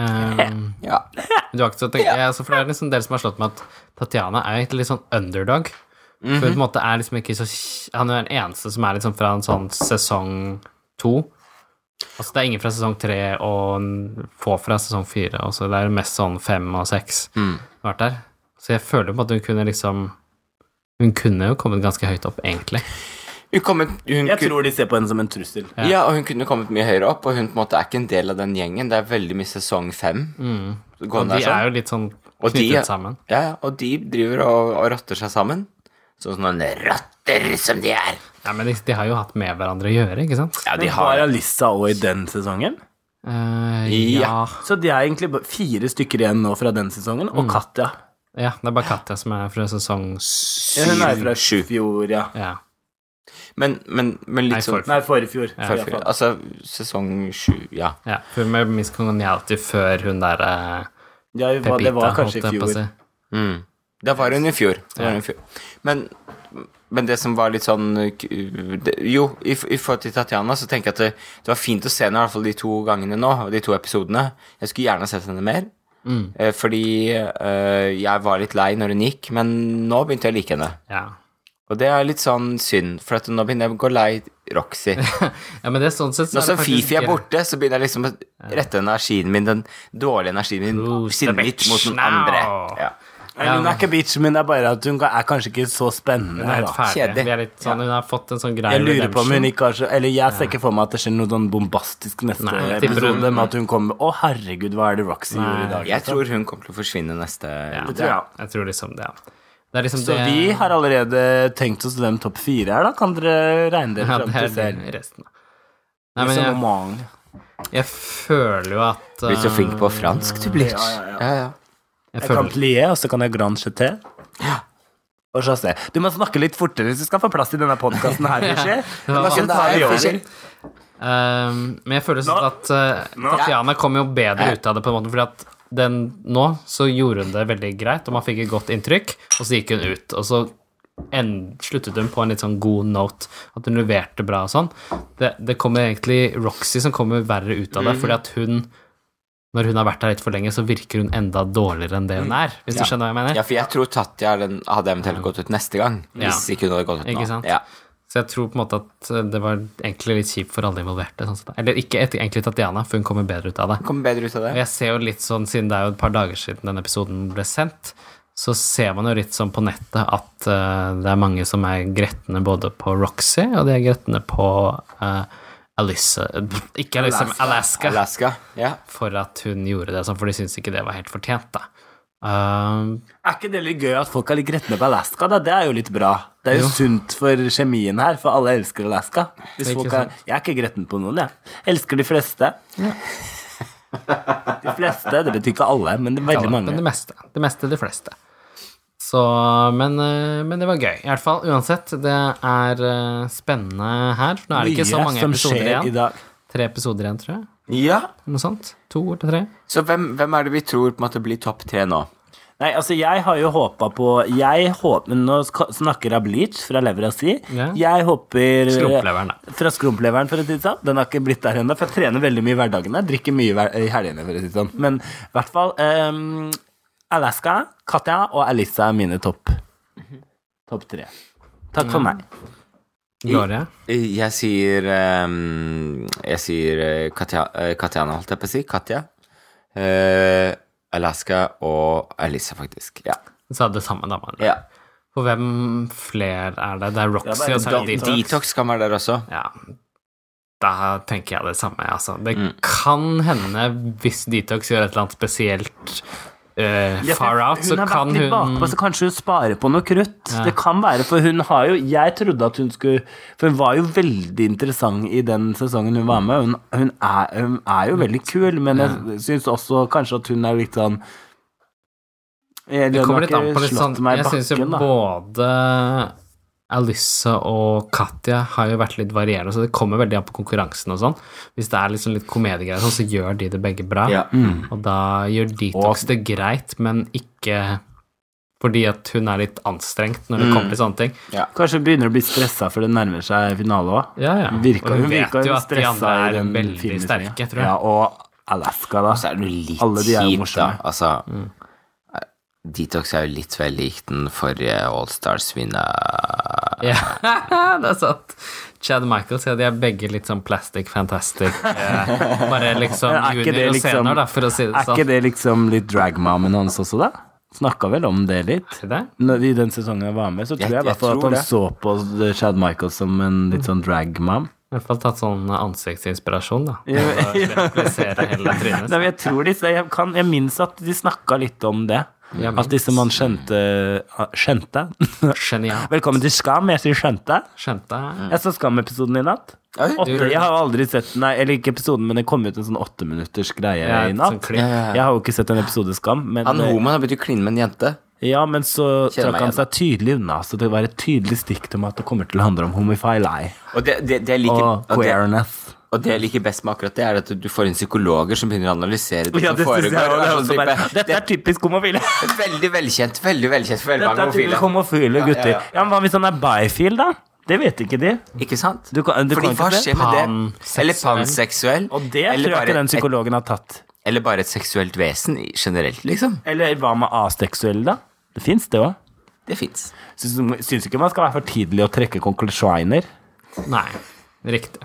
Speaker 1: Um,
Speaker 3: Ja.
Speaker 1: Du har ikke så tenkt, ja, altså, for det er liksom dere som har slått med at Tatiana er egentlig litt sånn underdog. For på en måte er liksom ikke så kj- Han er den eneste som er liksom fra en sånn sesong to. Altså det er ingen fra sesong tre og en- få fra sesong fire. og så det er mest sånn fem og seks
Speaker 3: Mm.
Speaker 1: som har vært der. Så jeg føler på at hun kunne liksom Hun kunne jo kommet ganske høyt opp, egentlig.
Speaker 3: Hun kommer, hun
Speaker 2: Jeg
Speaker 3: kunne-
Speaker 2: tror de ser på henne som en trussel.
Speaker 3: Ja, og hun kunne kommet mye høyere opp, og hun på en måte er ikke en del av den gjengen. Det er veldig mye sesong fem.
Speaker 1: Og
Speaker 3: Gående
Speaker 1: de
Speaker 3: der sånn.
Speaker 1: er jo litt sånn
Speaker 3: Og de-
Speaker 1: knyttet sammen.
Speaker 3: Ja, ja, og de driver og, og rotter seg sammen. Sånn som noen rotter som de er.
Speaker 1: Ja, men de, de har jo hatt med hverandre å gjøre, ikke sant?
Speaker 3: Ja, de
Speaker 2: Men
Speaker 3: har
Speaker 2: Var Alissa òg i den sesongen?
Speaker 1: Eh,
Speaker 3: Ja.
Speaker 1: ja.
Speaker 2: Så de er egentlig bare fire stykker igjen nå fra den sesongen, og Katja.
Speaker 1: ja. Det er bare Katja som er fra sesong
Speaker 2: Ja, Hun er fra
Speaker 3: Sju.
Speaker 2: fjor, ja.
Speaker 1: Ja.
Speaker 3: Men, men, men
Speaker 1: Nei,
Speaker 3: litt sånn
Speaker 1: forfjor.
Speaker 2: Nei, forrige fjor.
Speaker 3: forfjor. Altså sesong sju, ja.
Speaker 1: ja. For med Miss Congeniality før hun der eh,
Speaker 2: Ja, det var-
Speaker 1: Pepita,
Speaker 2: det var kanskje
Speaker 1: holdt
Speaker 2: i
Speaker 1: jeg på å
Speaker 2: fjor.
Speaker 1: si.
Speaker 3: Mm. Det var hun i fjor. Det var hun i fjor. Men, men det som var litt sånn uh, k- det- Jo, i, f- i forhold til Tatjana, så tenker jeg at det, det var fint å se henne i hvert fall de to gangene nå, de to episodene. Jeg skulle gjerne sett henne mer.
Speaker 1: Mm.
Speaker 3: Eh, Fordi eh, jeg var litt lei når hun gikk, men nå begynte jeg å like henne.
Speaker 1: Ja.
Speaker 3: Og det er litt sånn synd, for at nå begynner jeg å gå lei Roxy.
Speaker 1: ja, men det er sånn sett så er
Speaker 3: Nå
Speaker 1: det
Speaker 3: som
Speaker 1: faktisk
Speaker 3: Fifi er
Speaker 1: ikke-
Speaker 3: borte, så begynner jeg liksom å rette energien min, den dårlige energien min,
Speaker 1: Who's the
Speaker 3: sinnet mitt
Speaker 1: bitch
Speaker 3: mot noen
Speaker 1: now?
Speaker 3: andre. Ja.
Speaker 2: Nei, hun er ikke bitch, men det er bare at hun er kanskje ikke så spennende.
Speaker 1: Hun er helt
Speaker 2: da.
Speaker 1: ferdig.
Speaker 3: Kjedelig.
Speaker 1: Vi er litt sånn, hun har fått en sånn greie
Speaker 2: Jeg lurer på om hun
Speaker 1: redemption.
Speaker 2: ikke har så Eller jeg ser ikke for meg at det skjer noe sånn bombastisk neste
Speaker 1: Nei, jeg tipper
Speaker 2: episode
Speaker 1: hun-
Speaker 2: med at hun kommer Å, herregud, hva er det Roxy gjorde i dag? liksom?
Speaker 3: Jeg tror hun kommer til å forsvinne neste
Speaker 1: Ja.
Speaker 2: Det tror jeg.
Speaker 1: Jeg tror liksom det, ja. Det er liksom
Speaker 2: Så
Speaker 1: det
Speaker 2: vi har allerede tenkt oss hvem topp fire er, da. Kan dere regne dere
Speaker 1: ja,
Speaker 2: fram
Speaker 1: det
Speaker 2: til Liksom
Speaker 1: er
Speaker 2: selv?
Speaker 1: resten. Nei, men
Speaker 2: Som
Speaker 1: jeg,
Speaker 2: normalen.
Speaker 1: jeg føler jo at
Speaker 3: Blir så
Speaker 1: eh,
Speaker 3: flink på fransk, du blir. Ja, ja.
Speaker 1: jeg
Speaker 2: Jeg kan
Speaker 1: føler,
Speaker 2: plié, og så kan jeg grand jeté. Og så se. Du må snakke litt fortere hvis du skal få plass i denne podkasten her, Fischer.
Speaker 1: var
Speaker 2: Så
Speaker 3: vanskelig.
Speaker 2: tar vi over.
Speaker 1: eh, Men jeg føler sånn at eh,
Speaker 2: Nå-
Speaker 1: Tatjana kom jo bedre ut av det, på en måte, fordi at den, nå så gjorde hun det veldig greit, og man fikk et godt inntrykk, og så gikk hun ut, og så en, sluttet hun på en litt sånn god note, at hun leverte bra og sånn. Det, det kommer egentlig Roxy som kommer verre ut
Speaker 3: Mm.
Speaker 1: av det, fordi at hun, når hun har vært der litt for lenge, så virker hun enda dårligere enn det hun er, hvis du skjønner hva jeg mener.
Speaker 3: Mm. Ja, for jeg tror Tatja er den, hadde eventuelt gått ut neste gang.
Speaker 1: Ja.
Speaker 3: Hvis ikke hun hadde gått ut nå.
Speaker 1: Ikke sant?
Speaker 3: Ja.
Speaker 1: Så jeg tror på en måte at eh, det var egentlig litt kjipt for alle involverte. Sånn sett. Eller ikke et- egentlig Tatjana, for hun kommer bedre ut av det.
Speaker 3: Kommer bedre ut
Speaker 1: Og
Speaker 3: av det.
Speaker 1: jeg ser jo litt sånn, siden det er jo et par dager siden den episoden ble sendt, så ser man jo litt sånn på nettet at eh, det er mange som er gretne både på Roxy, og de er gretne på uh, Alissa Ikke Alissa, men Alaska.
Speaker 3: Alaska. Ja.
Speaker 1: For at hun gjorde det sånn, for de syns ikke det var helt fortjent, da. Ehm,
Speaker 2: Er ikke det litt gøy at folk er litt gretne på Alaska? da? Det er jo litt bra. Det er jo, sunt for kjemien her, for alle elsker Alaska.
Speaker 1: Det
Speaker 2: Hvis
Speaker 1: er ikke
Speaker 2: folk er, jeg er ikke gretten på noen, jeg. Elsker de fleste. De fleste, det betyr ikke alle, men det er veldig
Speaker 1: Men det
Speaker 2: mange.
Speaker 1: meste. Det meste, de fleste. Så, men, eh, men det var gøy. I hvert fall, uansett, det er eh, spennende her. Nå er det ikke så mange
Speaker 2: som
Speaker 1: episoder
Speaker 2: skjer i
Speaker 1: igjen.
Speaker 2: dag.
Speaker 1: Tre episoder igjen, tror jeg.
Speaker 3: Ja.
Speaker 1: Noe sånt. To til tre.
Speaker 3: Så hvem, hvem er det vi tror på en måte blir topp tre nå?
Speaker 2: Nei, altså jeg har jo håpa på Jeg håper, men Nå sk- snakker jeg bleach fra levra si.
Speaker 1: Ja.
Speaker 2: Jeg håper
Speaker 1: Skrumpleveren, da.
Speaker 2: Fra skrumpleveren, for å si det sånn. Den har ikke blitt der ennå, for jeg trener veldig mye i hverdagene. Drikker mye i hver- i helgene, for å si det sånn. Men i hvert fall ehm, Alaska, Katja og Alisa er mine topp Topp tre. Takk for meg. Mm.
Speaker 1: Gloria.
Speaker 3: Jeg sier ehm, Jeg sier eh, Katja, eh, Katjana, holdt jeg på å si. Katja. Eh, Alaska og Alisa, faktisk. Ja.
Speaker 1: Sa det samme, da. Man.
Speaker 3: ja.
Speaker 1: For hvem flere er det? Det er
Speaker 2: Ja,
Speaker 1: Roxy
Speaker 2: det er
Speaker 1: og så er det
Speaker 2: Detox.
Speaker 1: Detox.
Speaker 3: Detox kan være der også.
Speaker 1: Ja. Da tenker jeg det samme, altså. Det
Speaker 2: Mm.
Speaker 1: kan hende, hvis Detox gjør et eller annet spesielt eh, far out, så
Speaker 2: har
Speaker 1: kan
Speaker 2: vært
Speaker 1: hun
Speaker 2: litt bakpå, så kanskje hun sparer på noe krutt. Det kan være, for hun har jo Jeg trodde at hun skulle For hun var jo veldig interessant i den sesongen hun var med. Hun, hun, er, hun er jo veldig kul, men jeg syns også kanskje at hun er litt sånn jeg,
Speaker 1: Det kommer litt an på litt sånn
Speaker 2: meg i
Speaker 1: Jeg syns jo
Speaker 2: bakken, da.
Speaker 1: både Alyssa og Katja har jo vært litt varierende, så det kommer veldig an på konkurransen og sånn. Hvis det er liksom litt komediegreier, og sånn, så gjør de det begge bra.
Speaker 3: Ja.
Speaker 1: Og da gjør Detox det greit, men ikke fordi at hun er litt anstrengt når det kommer til sånne ting.
Speaker 2: Kanskje hun begynner å bli stressa for det nærmer seg finale òg.
Speaker 1: Ja, ja.
Speaker 2: Virka,
Speaker 1: og
Speaker 2: hun
Speaker 1: hun vet
Speaker 2: virka
Speaker 1: jo
Speaker 2: jo
Speaker 1: at de
Speaker 2: stressa
Speaker 1: andre
Speaker 2: i
Speaker 1: er
Speaker 2: den
Speaker 1: veldig
Speaker 2: filmen.
Speaker 1: sterke, tror jeg.
Speaker 2: Ja, og Alaska, da.
Speaker 3: Så er det jo litt
Speaker 2: Alle de er jo
Speaker 3: kjipt, da.
Speaker 2: morsomme.
Speaker 3: Altså, Detox er jo litt vel lik den forrige Allstars-vinneren.
Speaker 1: Ja, det er sant. Chad Michaels, ja, de er begge litt sånn plastic fantastic. eh, Bare liksom
Speaker 2: Men er ikke
Speaker 1: junior
Speaker 2: det
Speaker 1: og
Speaker 2: liksom-
Speaker 1: senior, da, for å si det
Speaker 2: Er
Speaker 1: sånn.
Speaker 2: ikke det liksom litt dragmammen hans også, da? Snakka vel om det litt?
Speaker 1: Er det?
Speaker 2: Når, I den sesongen jeg var med, så tror
Speaker 3: Jeg-
Speaker 2: jeg i hvert fall
Speaker 3: jeg
Speaker 2: at
Speaker 3: tror
Speaker 2: han
Speaker 3: det.
Speaker 2: så på Chad Michael som en litt sånn dragmam.
Speaker 1: I hvert fall tatt sånn ansiktsinspirasjon, da.
Speaker 2: Ja, men-
Speaker 1: Og replisere hele trynet.
Speaker 2: Nei, men jeg tror de, jeg, kan, jeg minnes at de snakka litt om det.
Speaker 1: Jeg
Speaker 2: At disse man skjønte ah, Skjønte?
Speaker 1: Genial.
Speaker 2: Velkommen til Skam, jeg sier skjønte.
Speaker 1: Skjønte jeg.
Speaker 2: Jeg så Skam-episoden i natt.
Speaker 3: Oi.
Speaker 2: Åtte, jeg har aldri sett den, nei, eller ikke episoden, men det kom ut en sånn åtteminutters greie
Speaker 1: Ja,
Speaker 2: i
Speaker 1: et sånt
Speaker 2: natt.
Speaker 1: klipp.
Speaker 2: Jeg har jo ikke sett en episode Skam, men eh,
Speaker 3: Han homoen har begynt å kline med en jente.
Speaker 2: Ja, men så trakk
Speaker 3: Kjenner meg
Speaker 2: han
Speaker 3: igjen.
Speaker 2: seg tydelig unna, så det var et tydelig stikk til meg at det kommer til å handle om homofili
Speaker 3: Og det, det, det, jeg liker,
Speaker 2: og
Speaker 3: og det,
Speaker 2: queerness.
Speaker 3: og det jeg liker best med akkurat det, er at du får inn psykologer som begynner å analysere det som
Speaker 2: synes
Speaker 3: foregår.
Speaker 2: også,
Speaker 3: og er
Speaker 2: det
Speaker 3: sånn
Speaker 2: er
Speaker 3: type,
Speaker 2: bare, Dette er typisk homofile.
Speaker 3: det er veldig velkjent. Veldig velkjent for veldig
Speaker 2: Dette
Speaker 3: mange
Speaker 2: er typisk
Speaker 3: homofile.
Speaker 2: homofile gutter.
Speaker 3: ja.
Speaker 2: Ja, men hva hvis han er bifil, da? Det vet ikke de.
Speaker 3: Ikke sant?
Speaker 2: Du kan- du
Speaker 3: Fordi
Speaker 2: kan
Speaker 3: hva
Speaker 2: ikke det.
Speaker 3: skjer med det?
Speaker 1: Panseksuell.
Speaker 3: Eller panseksuell.
Speaker 2: Og det
Speaker 3: eller,
Speaker 2: tror jeg ikke
Speaker 3: bare
Speaker 2: den
Speaker 3: et,
Speaker 2: psykologen har tatt.
Speaker 3: eller bare et seksuelt vesen i- generelt, liksom.
Speaker 2: Eller hva med aseksuelle, da? Det fins, det òg.
Speaker 3: Det fins.
Speaker 2: Syns syns ikke man skal være for tidlig å trekke konklusjoner.
Speaker 1: Nei, riktig.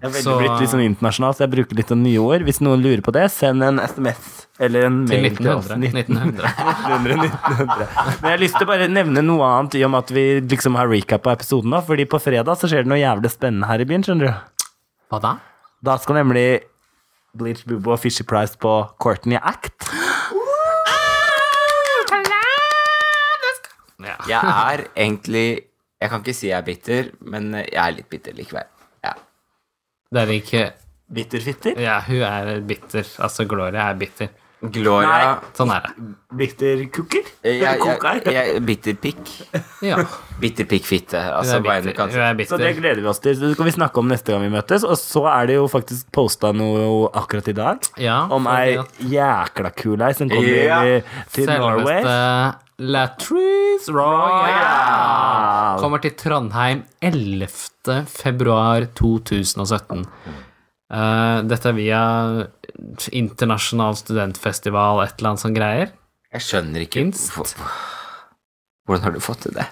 Speaker 2: Jeg er veldig
Speaker 1: Så-
Speaker 2: blitt litt sånn internasjonal, så jeg bruker litt sånn nye ord. Hvis noen lurer på det, send en SMS eller en
Speaker 1: Til
Speaker 2: mail til oss.
Speaker 1: 1900. 1900.
Speaker 2: 1900, 1900. Men jeg har lyst til å bare nevne noe annet i og med at vi liksom har recappa episoden nå. Fordi på fredag så skjer det noe jævlig spennende her i byen, skjønner du.
Speaker 1: Hva da?
Speaker 2: Da skal nemlig Bleach Boobo og Fisher Price på Courtney Act.
Speaker 1: Ja.
Speaker 3: Jeg er egentlig Jeg kan ikke si jeg er bitter, men jeg er litt bitter likevel. Ja.
Speaker 1: Det er ikke
Speaker 2: Bitterfitter.
Speaker 1: Ja, hun er bitter. Altså, Gloria er bitter.
Speaker 3: Gloria
Speaker 1: Sånn er det.
Speaker 2: Bitterkukker.
Speaker 3: jeg, jeg,
Speaker 2: Koker.
Speaker 3: jeg, Bitter pikk.
Speaker 1: Ja.
Speaker 3: Bitter pikkfitte.
Speaker 1: Hun
Speaker 3: Altså,
Speaker 1: er
Speaker 3: hva enn du
Speaker 1: bitter.
Speaker 3: kan
Speaker 1: Hun
Speaker 3: si.
Speaker 1: er
Speaker 2: Så det
Speaker 1: bitter.
Speaker 2: gleder vi oss til. Så Det skal vi snakke om neste gang vi møtes. Og så er det jo faktisk posta noe akkurat i dag
Speaker 1: Ja,
Speaker 2: om ei
Speaker 1: fordi at
Speaker 2: jækla kul ei som kommer
Speaker 3: Ja.
Speaker 2: i- til Norway.
Speaker 1: Selveste Latrice Royal
Speaker 2: Royal.
Speaker 1: kommer til Trondheim 11. februar 2017. Eh, dette er via internasjonal studentfestival, et eller annet sånn greier.
Speaker 3: Jeg skjønner ikke
Speaker 1: Minst.
Speaker 3: hvorfor- Hvordan har du fått til det?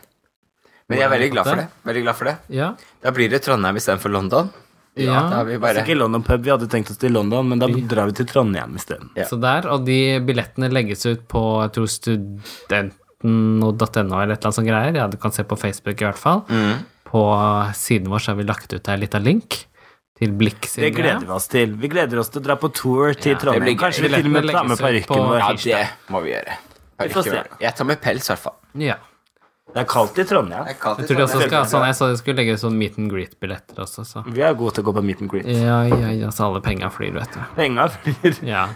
Speaker 3: Men jeg er veldig glad for det. Veldig glad for det.
Speaker 1: Ja.
Speaker 3: Da blir det Trondheim istedenfor London. Ja,
Speaker 1: Ja.
Speaker 3: da har vi
Speaker 2: Det
Speaker 3: bare
Speaker 2: er ikke London Pub vi hadde tenkt oss til London, men da drar vi til Trondheim isteden.
Speaker 3: Ja.
Speaker 1: Så der, og de billettene legges ut på jeg tror studenten.no eller et eller annet sånt greier. Ja, du kan se på Facebook i hvert fall.
Speaker 2: Mm.
Speaker 1: På siden vår så har vi lagt ut ei lita link til Blikk sin
Speaker 2: Det gleder vi oss til. Vi gleder oss til å dra på tour
Speaker 1: Ja,
Speaker 2: til
Speaker 1: det
Speaker 2: Trondheim.
Speaker 3: blir gøy.
Speaker 2: Kanskje vi til og med
Speaker 1: Billettene
Speaker 2: tar med
Speaker 1: legges ut på-
Speaker 2: parykken vår.
Speaker 3: Ja, det må vi gjøre. Har
Speaker 2: Vi får
Speaker 3: ikke
Speaker 2: se.
Speaker 3: vært- Jeg tar med pels, i hvert fall.
Speaker 1: Ja.
Speaker 2: Det er kaldt i Trondheim.
Speaker 3: Jeg kan
Speaker 1: Jeg
Speaker 3: ikke
Speaker 1: tror de også
Speaker 3: sånn-
Speaker 1: skal, sånn, jeg sa de skulle legge ut sånn meet and greet-billetter også, så
Speaker 2: Vi er gode til å gå på meet and greet.
Speaker 1: Ja, ja, ja, så alle penga flyr, vet du.
Speaker 2: Penga flyr.
Speaker 1: Ja.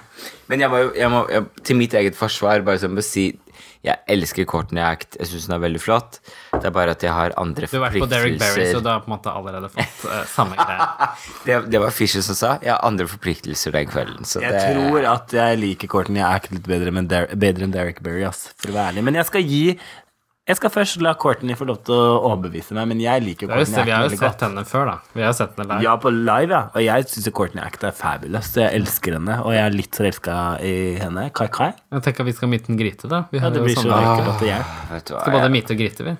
Speaker 3: Men jeg må jo jeg må, jeg, til mitt eget forsvar bare sånn å si jeg elsker Courtney Act. Jeg syns hun er veldig flott. Det er bare at jeg har andre
Speaker 1: Du har vært på Derrick Berry, så
Speaker 3: forpliktelser.
Speaker 1: du har på en måte allerede fått eh, samme greie.
Speaker 3: Det, det var Fisher som sa. Jeg har andre forpliktelser den kvelden. Så
Speaker 2: Jeg
Speaker 3: det,
Speaker 2: tror at jeg liker Courtney Act litt bedre, men Der bedre enn Derek Berry, ass, for å være ærlig. Men jeg skal gi Jeg skal først la Courtney få lov til å overbevise meg, men jeg liker
Speaker 1: Det er jo,
Speaker 2: Courtney
Speaker 1: vi har
Speaker 2: Act
Speaker 1: jo
Speaker 2: veldig
Speaker 1: sett
Speaker 2: godt.
Speaker 1: henne før, da. Vi har jo sett henne live.
Speaker 2: Ja, på live, ja. Og jeg syns Courtney Act er fabulous. så Jeg elsker henne, og jeg er litt forelska i henne. Kai-Kai.
Speaker 1: Jeg tenker vi skal meet and greete, da. Vi
Speaker 2: Ja,
Speaker 1: har
Speaker 2: det
Speaker 1: jo
Speaker 2: blir så
Speaker 1: sånne-
Speaker 3: Ah.
Speaker 2: ekkelt at det hjelper.
Speaker 3: Vet du hva,
Speaker 1: Skal både
Speaker 3: jeg,
Speaker 1: meete og grite, vi.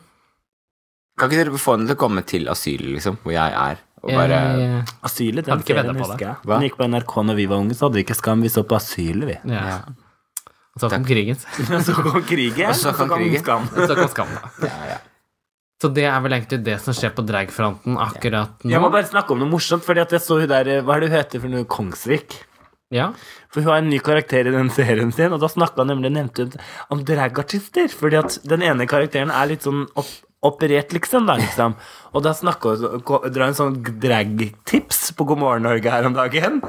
Speaker 3: kan ikke dere få henne til å komme til asylet, liksom, hvor jeg er? Og bare
Speaker 1: Eh,
Speaker 2: Asylet,
Speaker 1: Hadde
Speaker 2: den
Speaker 1: ikke
Speaker 2: serien
Speaker 1: ventet på
Speaker 2: husker jeg.
Speaker 3: Hva?
Speaker 2: Den gikk på NRK når vi var unge, så hadde vi ikke skam. Vi så på Asylet, vi.
Speaker 1: ja.
Speaker 3: Ja.
Speaker 1: Og så kom krigen.
Speaker 2: Og så kom krigen.
Speaker 3: Og så kom krigen.
Speaker 2: Skam.
Speaker 1: Så kom skam, da.
Speaker 3: ja, ja.
Speaker 1: Så det er vel egentlig det som skjer på dragfronten akkurat
Speaker 2: Jeg må
Speaker 1: nå.
Speaker 2: bare snakke om noe morsomt, fordi at jeg så hun der eh, Hva er det hun heter for noe? Kongsvik?
Speaker 1: Ja.
Speaker 2: For hun har en ny karakter i den serien sin, og da snakka nemlig nevnte hun om dragartister. Fordi at den ene karakteren er litt sånn opp, operert, liksom. Da, liksom. Og da snakka hun ko- dra en sånn dragtips på God morgen Norge her om dagen.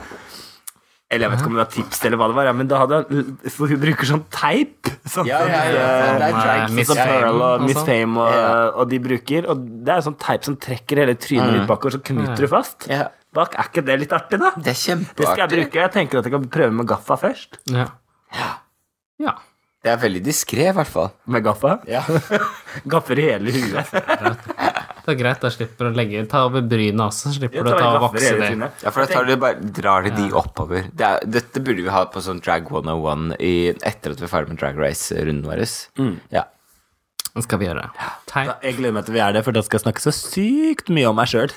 Speaker 2: Eller jeg vet ikke om det var tips, eller hva det var, ja, men da hadde hun, for hun bruker sånn teip. Sånn
Speaker 3: Ja,
Speaker 2: som, eh,
Speaker 3: ja, ja, det er
Speaker 1: Nei,
Speaker 3: drag,
Speaker 1: Miss
Speaker 2: Sånn
Speaker 1: Fame
Speaker 2: Pearl og
Speaker 1: og
Speaker 2: Miss
Speaker 1: sånn.
Speaker 2: Fame og,
Speaker 3: Ja. Mm.
Speaker 2: og de bruker. Og det er sånn teip som trekker hele trynet litt bakover, så
Speaker 1: Ja.
Speaker 2: knyter du fast.
Speaker 3: Ja.
Speaker 2: Bak, Er ikke det litt artig, da?
Speaker 3: Det er
Speaker 2: Det skal jeg
Speaker 3: kjempeartig.
Speaker 2: bruke. Jeg tenker at jeg kan prøve med gaffa først.
Speaker 1: Ja. ja.
Speaker 3: Det er veldig diskré, i hvert fall.
Speaker 2: Med gaffa?
Speaker 3: Ja.
Speaker 2: Gaffer i hele huet.
Speaker 1: Det er greit, da slipper du å legge Ta over bryna også, slipper
Speaker 2: Jeg
Speaker 1: du å
Speaker 2: tar
Speaker 1: ta og
Speaker 2: gaffer i
Speaker 1: vokse
Speaker 2: hele
Speaker 1: det.
Speaker 2: trynet.
Speaker 3: Ja, for da tar de bare, drar de de oppover. Det er, dette burde vi ha på sånn Drag 101 i, etter at vi er ferdig med Drag Race-runden vår.
Speaker 2: Mm.
Speaker 3: Ja.
Speaker 1: Det skal vi gjøre.
Speaker 2: Da-
Speaker 1: Teip.
Speaker 2: Jeg gleder meg til vi er der, for da skal jeg snakke så sykt mye om meg sjøl.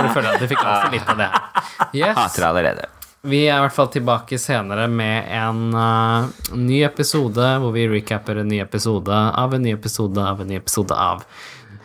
Speaker 1: Jeg føler at vi fikk altfor litt av det her. Yes.
Speaker 3: Hater det allerede.
Speaker 1: Vi er i hvert fall tilbake senere med en eh, ny episode hvor vi recapper en ny episode av en ny episode av en ny episode av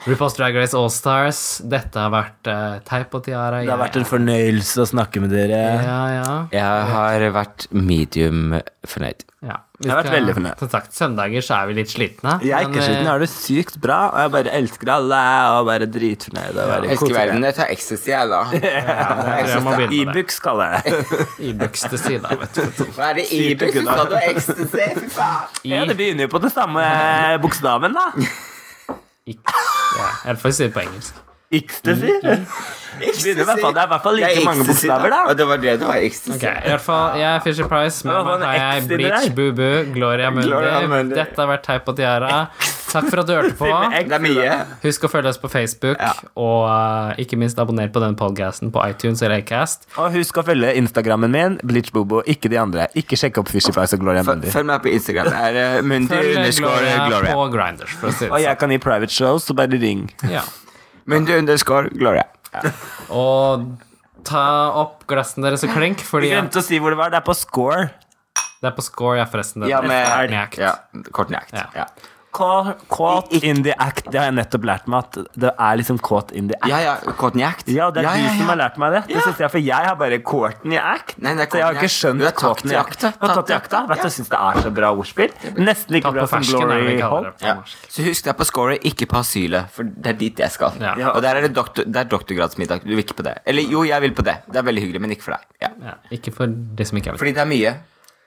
Speaker 1: RuPaul's Drag Race Allstars. Dette har vært eh, teip og tiara.
Speaker 2: Det har vært en fornøyelse å snakke med dere.
Speaker 1: Ja, ja.
Speaker 3: Jeg har vært medium fornøyd.
Speaker 1: ja. Vi
Speaker 2: Jeg har vært veldig fornøyd.
Speaker 1: Som sagt, søndager så er vi litt slitne.
Speaker 2: Jeg er ikke
Speaker 1: men, eh,
Speaker 2: sliten, jeg har det sykt bra, og jeg bare elsker alle og bare dritfornøyd. og bare
Speaker 3: Jeg elsker
Speaker 2: koser meg.
Speaker 3: verden. Jeg tar ecstasy, jeg, da.
Speaker 1: jeg tror jeg må begynne med det.
Speaker 2: Ibux kaller jeg det.
Speaker 1: Ibux til sida, vet du.
Speaker 3: Hva er det Ibux? Du sa du har ecstasy, fy faen!
Speaker 2: Ja, det begynner jo på den samme bokstaven, da.
Speaker 1: Ik ja, eller får vi si det på engelsk.
Speaker 2: Ecstasy. Begynner i hvert fall- Det er i hvert fall like mange
Speaker 3: ecstasy,
Speaker 2: bokstaver, da.
Speaker 3: Og det var det det var ecstasy.
Speaker 1: Ok, I hvert fall, jeg er Fisher Price. Med
Speaker 2: Det var
Speaker 1: meg har
Speaker 2: en
Speaker 1: jeg
Speaker 2: X inni
Speaker 1: Bleach,
Speaker 2: der.
Speaker 1: Bubu, Gloria
Speaker 3: Gloria
Speaker 1: Mundi.
Speaker 3: Mundi.
Speaker 1: Dette har vært teip og tiara. Takk for at du hørte på.
Speaker 2: Med X.
Speaker 3: Det er mye.
Speaker 1: Husk å følge oss på Facebook, og eh, ikke minst abonner på den podcasten på iTunes eller Acast.
Speaker 2: Og husk å følge Instagrammen min, Bleachbobo, ikke de andre. Ikke sjekk opp Fishy Price og Gloria Mundi.
Speaker 3: Følg meg på Instagram. Det er eh, Mundi
Speaker 1: Følg
Speaker 3: underscore
Speaker 1: Gloria,
Speaker 3: Gloria.
Speaker 1: på Grinders, for å si
Speaker 2: Og
Speaker 1: det
Speaker 2: jeg kan gi private shows, så bare ring.
Speaker 1: sånn. Ja.
Speaker 3: Mundi underscore Gloria.
Speaker 1: Og ta opp glassene deres og klink,
Speaker 2: Vi
Speaker 1: fordi
Speaker 2: glemte å si hvor det var. Det er på score.
Speaker 1: det er på score, ja, forresten. Det
Speaker 3: Ja,
Speaker 1: er
Speaker 3: med
Speaker 1: Courtney Act.
Speaker 3: Ja, Courtney Act.
Speaker 1: Ja.
Speaker 3: Ja.
Speaker 2: Ca- Caught in the act. Det har jeg nettopp lært meg. At det er liksom caught in the act.
Speaker 3: Ja, ja, Courtney Act.
Speaker 2: Ja, det er
Speaker 3: ja,
Speaker 2: du
Speaker 3: ja,
Speaker 2: som
Speaker 3: ja.
Speaker 2: har lært meg det. Det synes jeg, For jeg har bare caught in the act.
Speaker 3: Nei, det er
Speaker 2: så jeg har
Speaker 3: caught
Speaker 2: ikke
Speaker 3: in the act.
Speaker 2: skjønt
Speaker 3: Du er
Speaker 2: caught in the
Speaker 3: tatt i
Speaker 2: act.
Speaker 3: akta.
Speaker 2: Ja, Tatt i akta. Vet du, jeg syns det er så bra ordspill. Nesten like
Speaker 1: Tatt
Speaker 2: bra
Speaker 1: på
Speaker 2: som
Speaker 1: fersken, er det
Speaker 2: Glory
Speaker 1: vi kaller
Speaker 2: Hole.
Speaker 1: det. på
Speaker 3: Ja.
Speaker 1: norsk.
Speaker 3: Så husk det er på scoret, ikke på asylet, for det er dit jeg skal.
Speaker 1: Ja.
Speaker 2: Ja.
Speaker 3: Og der er det, doktor, det er doktorgradsmiddag. Du vil ikke på det. Eller jo, jeg vil på det. Det er veldig hyggelig, men ikke for deg. Ja.
Speaker 1: Ja, ikke for de som ikke er
Speaker 3: Fordi det er mye.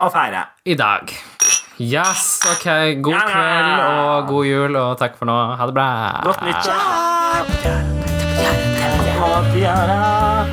Speaker 2: Å feire.
Speaker 1: I dag. Yes, ok. God
Speaker 2: Ja, ja.
Speaker 1: kveld og god jul, og takk for nå. Ha det bra.
Speaker 2: Godt nyttår. Ha det, Yara.